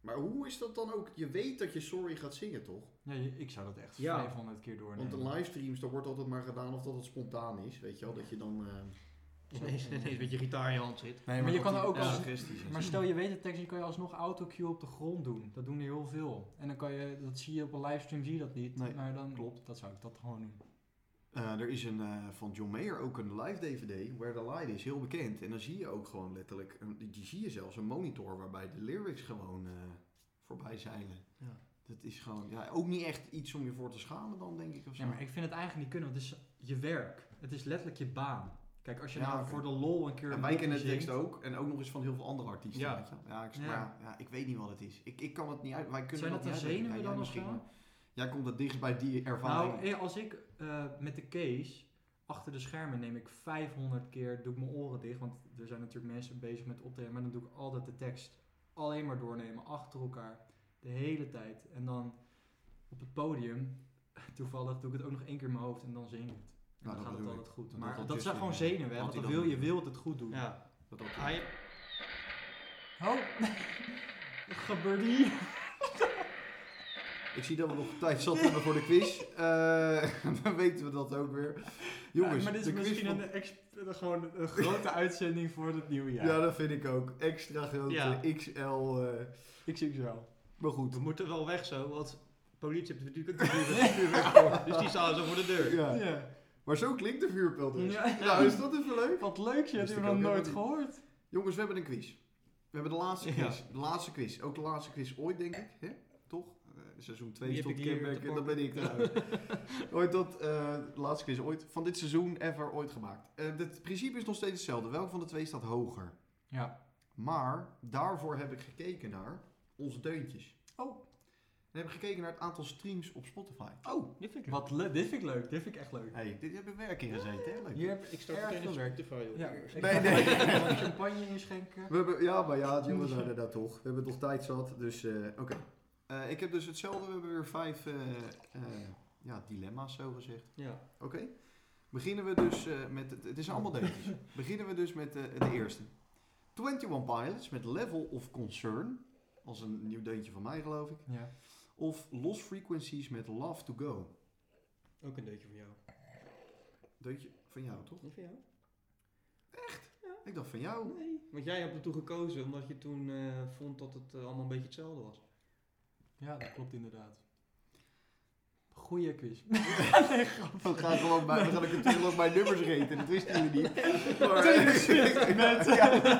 [SPEAKER 2] Maar hoe is dat dan ook? Je weet dat je Sorry gaat zingen, toch?
[SPEAKER 3] ja, je- ik zou dat echt
[SPEAKER 1] Ja.
[SPEAKER 3] 500 keer doornemen.
[SPEAKER 2] Want de livestreams, daar wordt altijd maar gedaan of dat het spontaan is, weet je wel. Dat je dan... eh,
[SPEAKER 1] Ineens, ineens met je gitaar in je hand zit.
[SPEAKER 3] maar je kan er ook
[SPEAKER 1] als-
[SPEAKER 2] suggesties en
[SPEAKER 3] Maar
[SPEAKER 2] zo.
[SPEAKER 3] stel je weet de tekst, dan kan je alsnog autocue op de grond doen. Dat doen er heel veel. En dan kan je, dat zie je op een livestream, zie je dat niet.
[SPEAKER 2] Nee,
[SPEAKER 3] maar dan
[SPEAKER 2] klopt.
[SPEAKER 3] Dat zou ik dat gewoon doen.
[SPEAKER 2] Eh, er is een, eh, van John Mayer ook een live DVD, Where the Light is, heel bekend. En dan zie je ook gewoon letterlijk, een, die zie je zelfs een monitor waarbij de lyrics gewoon eh, voorbij zeilen.
[SPEAKER 1] Ja.
[SPEAKER 2] Dat is gewoon, ja, ook niet echt iets om je voor te schamen dan, denk ik of zo.
[SPEAKER 3] Ja, maar ik vind het eigenlijk niet kunnen, want het is je werk. Het is letterlijk je baan. Kijk, als je
[SPEAKER 2] Ja,
[SPEAKER 3] nou
[SPEAKER 2] oké.
[SPEAKER 3] voor de lol een keer
[SPEAKER 2] en
[SPEAKER 3] een
[SPEAKER 2] wij kennen de
[SPEAKER 3] liedje
[SPEAKER 2] tekst
[SPEAKER 3] zingt,
[SPEAKER 2] ook, en ook nog eens van heel veel andere artiesten.
[SPEAKER 1] Ja.
[SPEAKER 2] weet je wel. ja, ik, maar
[SPEAKER 3] Ja.
[SPEAKER 2] ja. ik weet niet wat het is. Ik, ik kan het niet uit, wij kunnen
[SPEAKER 3] Zijn
[SPEAKER 2] dat
[SPEAKER 3] dat de
[SPEAKER 2] niet uitleggen.
[SPEAKER 3] zenuwen
[SPEAKER 2] Ja, jij
[SPEAKER 3] dan of
[SPEAKER 2] misschien,
[SPEAKER 3] zo?
[SPEAKER 2] maar Jij komt het dichtst bij die ervaring.
[SPEAKER 3] Nou, eh, als ik eh, met de case achter de schermen neem ik 500 keer, doe ik mijn oren dicht. Want er zijn natuurlijk mensen bezig met optreden. Maar dan doe ik altijd de tekst alleen maar doornemen, achter elkaar, de hele tijd. En dan op het podium, toevallig, doe ik het ook nog één keer in mijn hoofd en dan zing ik het. En dan
[SPEAKER 2] Nou, dat
[SPEAKER 3] gaat het
[SPEAKER 2] bedoel
[SPEAKER 3] altijd goed.
[SPEAKER 2] Dat
[SPEAKER 3] Maar
[SPEAKER 2] doet
[SPEAKER 3] dat,
[SPEAKER 2] dat
[SPEAKER 3] zijn
[SPEAKER 2] Justin,
[SPEAKER 3] gewoon
[SPEAKER 2] ja.
[SPEAKER 3] zenuwen, hè, want
[SPEAKER 2] Want
[SPEAKER 3] dan
[SPEAKER 2] die
[SPEAKER 3] wil
[SPEAKER 2] dan
[SPEAKER 3] je
[SPEAKER 2] doet.
[SPEAKER 3] wil het goed doen.
[SPEAKER 1] Ja.
[SPEAKER 2] dat dat-
[SPEAKER 1] Hij,
[SPEAKER 3] Oh, gebeurt hier.
[SPEAKER 2] Ik zie dat we nog tijd zat hebben voor de quiz. Eh, dan weten we dat ook weer. Jongens,
[SPEAKER 3] Ja, maar dit is
[SPEAKER 2] de quiz
[SPEAKER 3] misschien
[SPEAKER 2] van-
[SPEAKER 3] een, ex- gewoon een grote uitzending voor het nieuwe
[SPEAKER 2] Ja.
[SPEAKER 3] jaar.
[SPEAKER 2] dat vind ik ook. Extra grote
[SPEAKER 1] Ja.
[SPEAKER 2] XL. eh,
[SPEAKER 3] Ik zie het wel.
[SPEAKER 2] maar goed.
[SPEAKER 1] we moeten wel weg zo, want politie heeft natuurlijk ook de vuurwerk Dus die staan zo voor de deur.
[SPEAKER 2] Ja.
[SPEAKER 3] Ja.
[SPEAKER 2] Maar zo klinkt de vuurpijl dus.
[SPEAKER 3] Ja.
[SPEAKER 2] Nou, is dat even leuk?
[SPEAKER 3] Wat leuk, je hebt
[SPEAKER 2] Wist
[SPEAKER 3] hem
[SPEAKER 2] ik
[SPEAKER 3] nog
[SPEAKER 2] ook
[SPEAKER 3] nooit
[SPEAKER 2] helemaal
[SPEAKER 3] gehoord.
[SPEAKER 2] Jongens, we hebben een quiz. We hebben de laatste
[SPEAKER 1] Ja.
[SPEAKER 2] quiz. De laatste quiz. Ook de laatste quiz ooit, denk ik. Hè? Toch? Eh, seizoen 2
[SPEAKER 1] Wie heb
[SPEAKER 2] tot
[SPEAKER 1] ik hier
[SPEAKER 2] Kenberg.
[SPEAKER 1] te
[SPEAKER 2] en Dat
[SPEAKER 1] pakken?
[SPEAKER 2] ben ik trouwens. ooit dat, eh, de laatste quiz ooit. Van dit seizoen ever ooit gemaakt. Eh, het principe is nog steeds hetzelfde. Welke van de twee staat hoger?
[SPEAKER 3] Ja.
[SPEAKER 2] Maar daarvoor heb ik gekeken naar onze deuntjes.
[SPEAKER 3] Oh.
[SPEAKER 2] En heb ik gekeken naar het aantal streams op Spotify.
[SPEAKER 3] Oh,
[SPEAKER 1] Dit vind ik
[SPEAKER 3] wat leuk. Dit vind ik leuk. Dit vind ik echt leuk.
[SPEAKER 2] hey, dit hebben werk in gezeten, hè? Leuk.
[SPEAKER 3] Hier heb
[SPEAKER 1] Ik start
[SPEAKER 3] erg
[SPEAKER 1] meteen
[SPEAKER 3] veel
[SPEAKER 1] een
[SPEAKER 3] werk.
[SPEAKER 1] Spotify op.
[SPEAKER 3] Ja,
[SPEAKER 1] Ja.
[SPEAKER 3] ik
[SPEAKER 2] Nee,
[SPEAKER 3] ga
[SPEAKER 2] nee.
[SPEAKER 3] even wat champagne inschenken.
[SPEAKER 2] We hebben, ja, maar ja, jongens zijn dat toch. We hebben toch tijd zat, dus eh, oké. Eh, ik heb dus hetzelfde, we hebben weer vijf eh, eh, ja, dilemma's zo gezegd.
[SPEAKER 1] Ja.
[SPEAKER 2] Oké. Beginnen we dus eh, met, het, het is allemaal deuntjes. Beginnen we dus met eh, de eerste. 21 Pilots met Level of Concern. Als een nieuw deuntje van mij geloof ik.
[SPEAKER 3] Ja.
[SPEAKER 2] Of Lost Frequencies met Love to Go.
[SPEAKER 1] Ook een deukje van jou.
[SPEAKER 2] Deuntje van jou, toch?
[SPEAKER 1] Niet van jou?
[SPEAKER 2] Ik dacht van jou.
[SPEAKER 1] Nee. Want jij hebt ertoe gekozen omdat je toen eh, vond dat het eh, allemaal een beetje hetzelfde was.
[SPEAKER 3] ja, dat klopt inderdaad. Goeie quiz.
[SPEAKER 2] We gaan gewoon bij, we gaan een terug bij nummers reten, dat wisten jullie niet. Maar,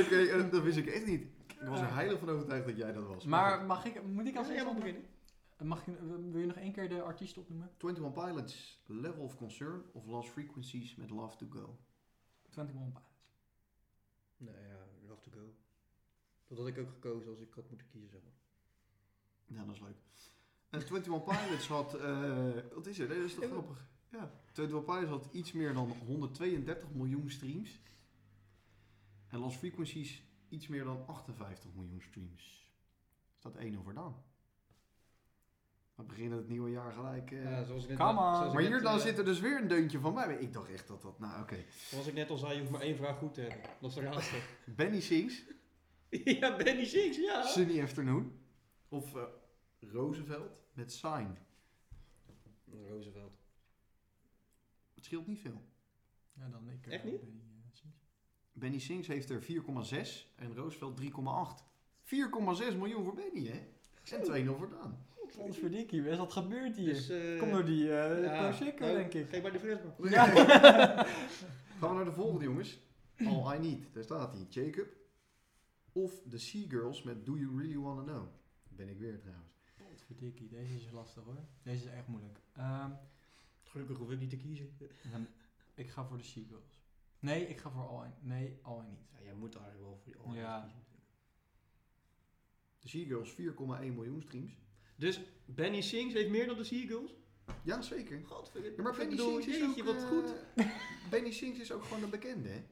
[SPEAKER 2] Oké, eh, dat wist ik echt niet. Ik was er heilig van overtuigd dat jij dat was.
[SPEAKER 3] Maar mag ik, moet ik als
[SPEAKER 1] Ja, jij
[SPEAKER 3] eerste
[SPEAKER 1] mag
[SPEAKER 3] beginnen? Mag je, wil je nog één keer de artiest opnoemen?
[SPEAKER 2] 21 Pilots, Level of Concern of Lost Frequencies met Love to Go.
[SPEAKER 3] 21 Pilots.
[SPEAKER 1] Nou ja, Love to Go. Dat had ik ook gekozen als ik had moeten kiezen, zeg maar.
[SPEAKER 2] Ja, dat is leuk. En 21 Pilots had, eh, wat is er? Nee, dat is toch grappig? Ja, 21 Pilots had iets meer dan 132 miljoen streams. En Lost Frequencies iets meer dan 58 miljoen streams. Staat één over dan. We beginnen het nieuwe jaar gelijk. eh.
[SPEAKER 1] Ja, zoals ik net,
[SPEAKER 3] Come on.
[SPEAKER 1] zoals ik
[SPEAKER 2] maar
[SPEAKER 1] net,
[SPEAKER 2] hier dan
[SPEAKER 1] eh,
[SPEAKER 2] zit er dus weer een deuntje van mij. Ik dacht echt dat dat, nou oké.
[SPEAKER 1] Zoals ik net al zei, je hoeft maar één vraag goed te hebben. Dat is de laatste.
[SPEAKER 2] Benny Sings,
[SPEAKER 1] ja, Benny Six, ja.
[SPEAKER 2] Sunny Afternoon. Of eh, Roosevelt met Sign.
[SPEAKER 1] Roosevelt.
[SPEAKER 2] Het scheelt niet veel.
[SPEAKER 3] Ja, dan ik. eh,
[SPEAKER 1] Echt niet?
[SPEAKER 3] ben eh, precies.
[SPEAKER 2] Benny Sings heeft er 4,6 en Roosevelt 3,8. 4,6 miljoen voor Benny, hè? En 2 0 voor Daan.
[SPEAKER 3] Godverdikkie, wat is dat gebeurd hier?
[SPEAKER 1] Dus, eh,
[SPEAKER 3] Kom door die eh
[SPEAKER 1] ja,
[SPEAKER 3] Prosecco,
[SPEAKER 1] nou,
[SPEAKER 3] denk ik.
[SPEAKER 1] Geef maar de fles maar.
[SPEAKER 2] Gaan we naar de volgende, jongens. All I Need, daar staat hij. Jacob. Of The Sea Girls met Do You Really Wanna Know. Ben ik weer trouwens.
[SPEAKER 3] Godverdikkie, deze is lastig hoor. Deze is echt moeilijk. Ehm,
[SPEAKER 1] Gelukkig hoef ik niet te kiezen.
[SPEAKER 3] dan- ik ga voor de Seagulls. Nee, ik ga voor All I, nee, All I Need.
[SPEAKER 1] Ja, jij moet eigenlijk wel voor die andere
[SPEAKER 3] Ja.
[SPEAKER 1] kiezen.
[SPEAKER 2] The Sea Girls 4,1 miljoen streams.
[SPEAKER 1] Dus Benny Sings heeft meer dan de Seagulls?
[SPEAKER 2] Ja, zeker.
[SPEAKER 1] Godverdomme.
[SPEAKER 2] Ja, maar Benny Sings is ook...
[SPEAKER 1] jeetje, wat
[SPEAKER 2] eh,
[SPEAKER 1] goed.
[SPEAKER 2] Benny Sings is ook gewoon een bekende, hè?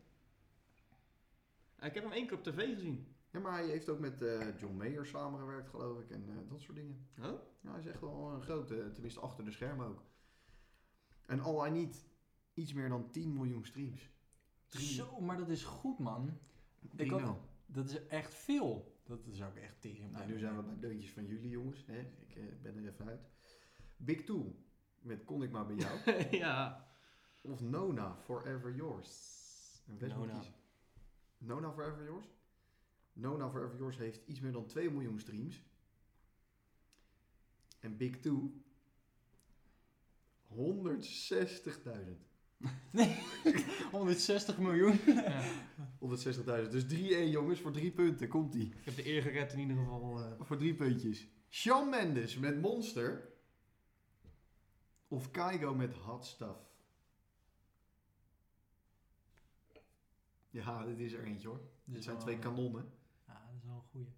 [SPEAKER 1] Ik heb hem één keer op tv gezien.
[SPEAKER 2] Ja, maar hij heeft ook met eh, John Mayer samengewerkt, geloof ik, en eh, dat soort dingen.
[SPEAKER 1] Oh?
[SPEAKER 2] Ja, hij is echt wel een grote, eh, tenminste achter de schermen ook. En All I Need, iets meer dan 10 miljoen streams. Drie-
[SPEAKER 3] Zo, maar dat is goed man. Ik
[SPEAKER 2] 3-0.
[SPEAKER 3] had- Dat is echt veel. Dat is ook echt tegen.
[SPEAKER 2] Nou, nu zijn we bij deuntjes van jullie, jongens. Hè? Ik eh, ben er even uit. Big Two, met Kon ik maar bij jou.
[SPEAKER 1] ja.
[SPEAKER 2] of Nona, Forever Yours. En Wes moet
[SPEAKER 1] Nona.
[SPEAKER 2] kiezen. Nona Forever Yours? Nona Forever Yours heeft iets meer dan 2 miljoen streams. En Big Two... 160.000.
[SPEAKER 3] 160 miljoen.
[SPEAKER 2] 160.000. Dus 3-1 jongens voor 3 punten. Komt ie.
[SPEAKER 1] Ik heb de eer gered in ieder geval. eh.
[SPEAKER 2] Voor 3 puntjes. Shawn Mendes met Monster. Of Kaigo met Hot Stuff. Ja, dit is er eentje hoor. Dit zijn twee kanonnen.
[SPEAKER 3] Ja, dat is wel een goeie.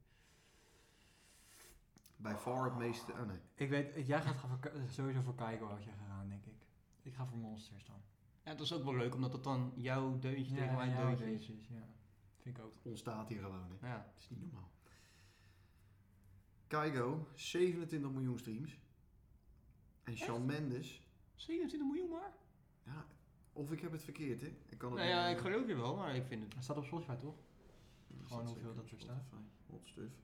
[SPEAKER 2] Bij far het meeste... Oh nee.
[SPEAKER 3] Ik weet, jij gaat gaan voor, Ka- sowieso voor Kaigo had je gegaan, denk ik. Ik ga voor Monsters dan.
[SPEAKER 1] Ja, dat is ook wel leuk, omdat dat dan jouw deuntje tegen mijn
[SPEAKER 3] jouw
[SPEAKER 1] deuntje is.
[SPEAKER 3] deuntjes, ja. Vind ik ook.
[SPEAKER 2] Ontstaat hier gewoon hè.
[SPEAKER 1] Ja.
[SPEAKER 2] Dat is niet normaal. Kaigo, 27 miljoen streams. En Shawn Mendes...
[SPEAKER 1] 27 miljoen maar?
[SPEAKER 2] Ja, of ik heb het verkeerd hè. Ik kan het
[SPEAKER 1] Nou ja,
[SPEAKER 2] niet-
[SPEAKER 1] ik geloof je wel, maar ik vind het...
[SPEAKER 3] Het staat op Spotify toch? Gewoon hoeveel
[SPEAKER 2] zeker
[SPEAKER 3] dat
[SPEAKER 2] op
[SPEAKER 3] er staat.
[SPEAKER 2] Spotify. Hot stuff.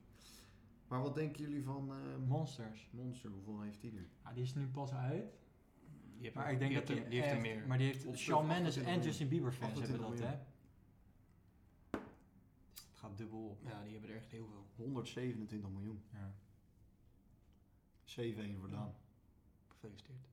[SPEAKER 2] Maar wat denken jullie van eh,
[SPEAKER 3] Monsters.
[SPEAKER 2] Monster? Hoeveel heeft hij nu?
[SPEAKER 3] Ja, die is nu pas uit.
[SPEAKER 1] Je hebt
[SPEAKER 3] Maar
[SPEAKER 1] hem-
[SPEAKER 3] ik denk
[SPEAKER 1] je
[SPEAKER 3] dat
[SPEAKER 1] hebt
[SPEAKER 3] die,
[SPEAKER 1] hem- die heeft er
[SPEAKER 3] echt-
[SPEAKER 1] meer.
[SPEAKER 3] Maar die heeft
[SPEAKER 2] Monsters
[SPEAKER 3] Shawn Mendes en
[SPEAKER 2] 28 miljoen.
[SPEAKER 3] Justin Bieber fans hebben
[SPEAKER 2] 28
[SPEAKER 3] dat, hè?
[SPEAKER 2] miljoen.
[SPEAKER 3] Dus Het gaat dubbel op.
[SPEAKER 1] Ja, die hebben er echt heel veel.
[SPEAKER 2] 127 miljoen. 7-1 voor Daan.
[SPEAKER 1] Gefeliciteerd.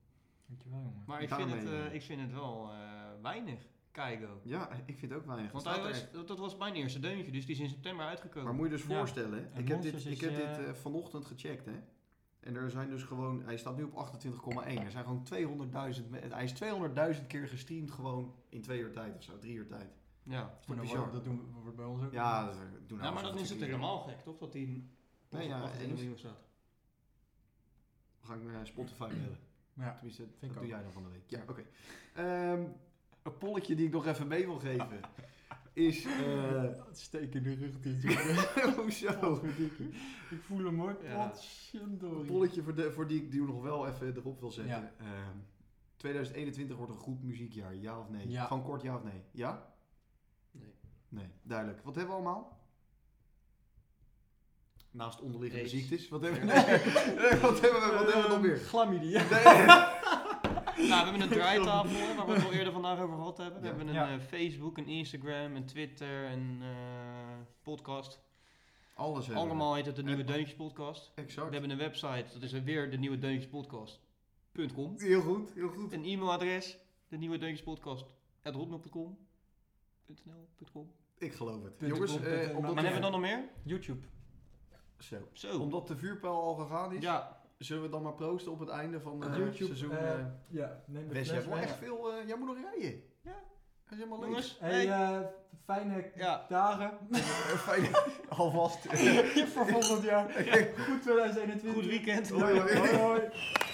[SPEAKER 3] Dankjewel, jongen.
[SPEAKER 1] Maar ik vind,
[SPEAKER 2] Daarmee,
[SPEAKER 1] het, eh,
[SPEAKER 2] eh,
[SPEAKER 1] ik vind het wel eh, weinig, Keigo.
[SPEAKER 2] Ja, ik vind het ook weinig.
[SPEAKER 1] Want
[SPEAKER 2] Het
[SPEAKER 1] hij
[SPEAKER 2] staat er
[SPEAKER 1] was,
[SPEAKER 2] echt.
[SPEAKER 1] dat dat was mijn eerste deuntje, dus die is in september uitgekomen.
[SPEAKER 2] Maar moet je dus
[SPEAKER 3] Ja.
[SPEAKER 2] voorstellen, hè?
[SPEAKER 3] En
[SPEAKER 2] ik heb dit,
[SPEAKER 3] Monsters is,
[SPEAKER 2] ik heb dit
[SPEAKER 3] eh,
[SPEAKER 2] eh, vanochtend gecheckt hè. En er zijn dus gewoon, hij staat nu op 28,1. Er zijn gewoon 200.000, me- hij is 200.000 keer gestreamd gewoon in twee uur tijd of zo, drie uur tijd.
[SPEAKER 1] ja.
[SPEAKER 2] Maar
[SPEAKER 3] Maar
[SPEAKER 2] dat
[SPEAKER 3] dat,
[SPEAKER 2] wordt-
[SPEAKER 3] dat doen we, wordt bij ons ook.
[SPEAKER 2] Ja, dat doen nou
[SPEAKER 1] ja, maar
[SPEAKER 2] alsof
[SPEAKER 1] dan is het
[SPEAKER 2] niet-
[SPEAKER 1] helemaal gek, toch? Dat die
[SPEAKER 2] Nee, ja,
[SPEAKER 1] achter
[SPEAKER 2] eens.
[SPEAKER 1] de miljoen staat.
[SPEAKER 2] We gaan eh, Spotify bellen.
[SPEAKER 3] Ja.
[SPEAKER 2] Tenminste, dat
[SPEAKER 3] ik
[SPEAKER 2] doe
[SPEAKER 3] ook.
[SPEAKER 2] jij dan van de week. Ja,
[SPEAKER 3] Ja.
[SPEAKER 2] oké. Ehm, een polletje die ik nog even mee wil geven is... eh,
[SPEAKER 3] Steek in de rug dit.
[SPEAKER 2] hoezo?
[SPEAKER 3] Ik voel hem hoor.
[SPEAKER 1] Ja.
[SPEAKER 2] Een
[SPEAKER 3] Potverdorie.
[SPEAKER 2] polletje voor, de, voor die ik die ik nog wel even erop wil zetten.
[SPEAKER 3] Ja.
[SPEAKER 2] Ehm, 2021 wordt een goed muziekjaar, ja of nee?
[SPEAKER 3] Ja.
[SPEAKER 2] Gewoon kort ja of nee? Ja?
[SPEAKER 1] Nee.
[SPEAKER 2] Nee, duidelijk. Wat hebben we allemaal? Naast onderliggende
[SPEAKER 1] Aids.
[SPEAKER 2] ziektes. Wat hebben we, nee, wat hebben we, wat hebben we nog
[SPEAKER 1] Ehm,
[SPEAKER 2] meer?
[SPEAKER 3] Chlamydia.
[SPEAKER 1] Nou, we hebben een draaitafel, waar we het al eerder vandaag over gehad hebben. We
[SPEAKER 2] Ja.
[SPEAKER 1] hebben een
[SPEAKER 3] Ja.
[SPEAKER 1] eh, Facebook, een Instagram, een Twitter, een eh, podcast.
[SPEAKER 2] Alles hebben we.
[SPEAKER 1] Allemaal heet het de Nieuwe
[SPEAKER 2] En-
[SPEAKER 1] Deuntjes Podcast. We
[SPEAKER 2] Exact.
[SPEAKER 1] hebben een website, dat is weer de Nieuwe Deuntjes Podcast.com.
[SPEAKER 2] Heel goed, heel goed.
[SPEAKER 1] Een e-mailadres, de Nieuwe Deuntjes Podcast. hotmail.com. .nl, .com.
[SPEAKER 2] Ik geloof het.
[SPEAKER 3] Punt
[SPEAKER 2] Jongens,
[SPEAKER 3] com,
[SPEAKER 2] eh,
[SPEAKER 3] punt com.
[SPEAKER 2] omdat
[SPEAKER 1] Maar
[SPEAKER 2] de-
[SPEAKER 1] hebben we dan nog meer?
[SPEAKER 3] YouTube.
[SPEAKER 2] Zo.
[SPEAKER 1] Zo.
[SPEAKER 2] Omdat de vuurpijl al gegaan is,
[SPEAKER 1] Ja,
[SPEAKER 2] zullen we dan maar proosten op het einde van eh,
[SPEAKER 3] YouTube.
[SPEAKER 2] seizoen.
[SPEAKER 3] eh,
[SPEAKER 2] eh
[SPEAKER 3] ja, neem de
[SPEAKER 2] Wes, jij
[SPEAKER 3] fles
[SPEAKER 2] hebt wel
[SPEAKER 3] mee.
[SPEAKER 2] echt veel... eh, jij moet nog rijden.
[SPEAKER 1] Ja.
[SPEAKER 2] Dat is helemaal leuk.
[SPEAKER 1] jongens.
[SPEAKER 3] Hey,
[SPEAKER 1] Hey.
[SPEAKER 3] eh, fijne
[SPEAKER 1] Ja.
[SPEAKER 3] dagen
[SPEAKER 2] Fijn. Alvast.
[SPEAKER 3] voor volgend jaar. Goed 2021.
[SPEAKER 1] Goed weekend.
[SPEAKER 2] Hoi, hoi.
[SPEAKER 3] hoi. hoi.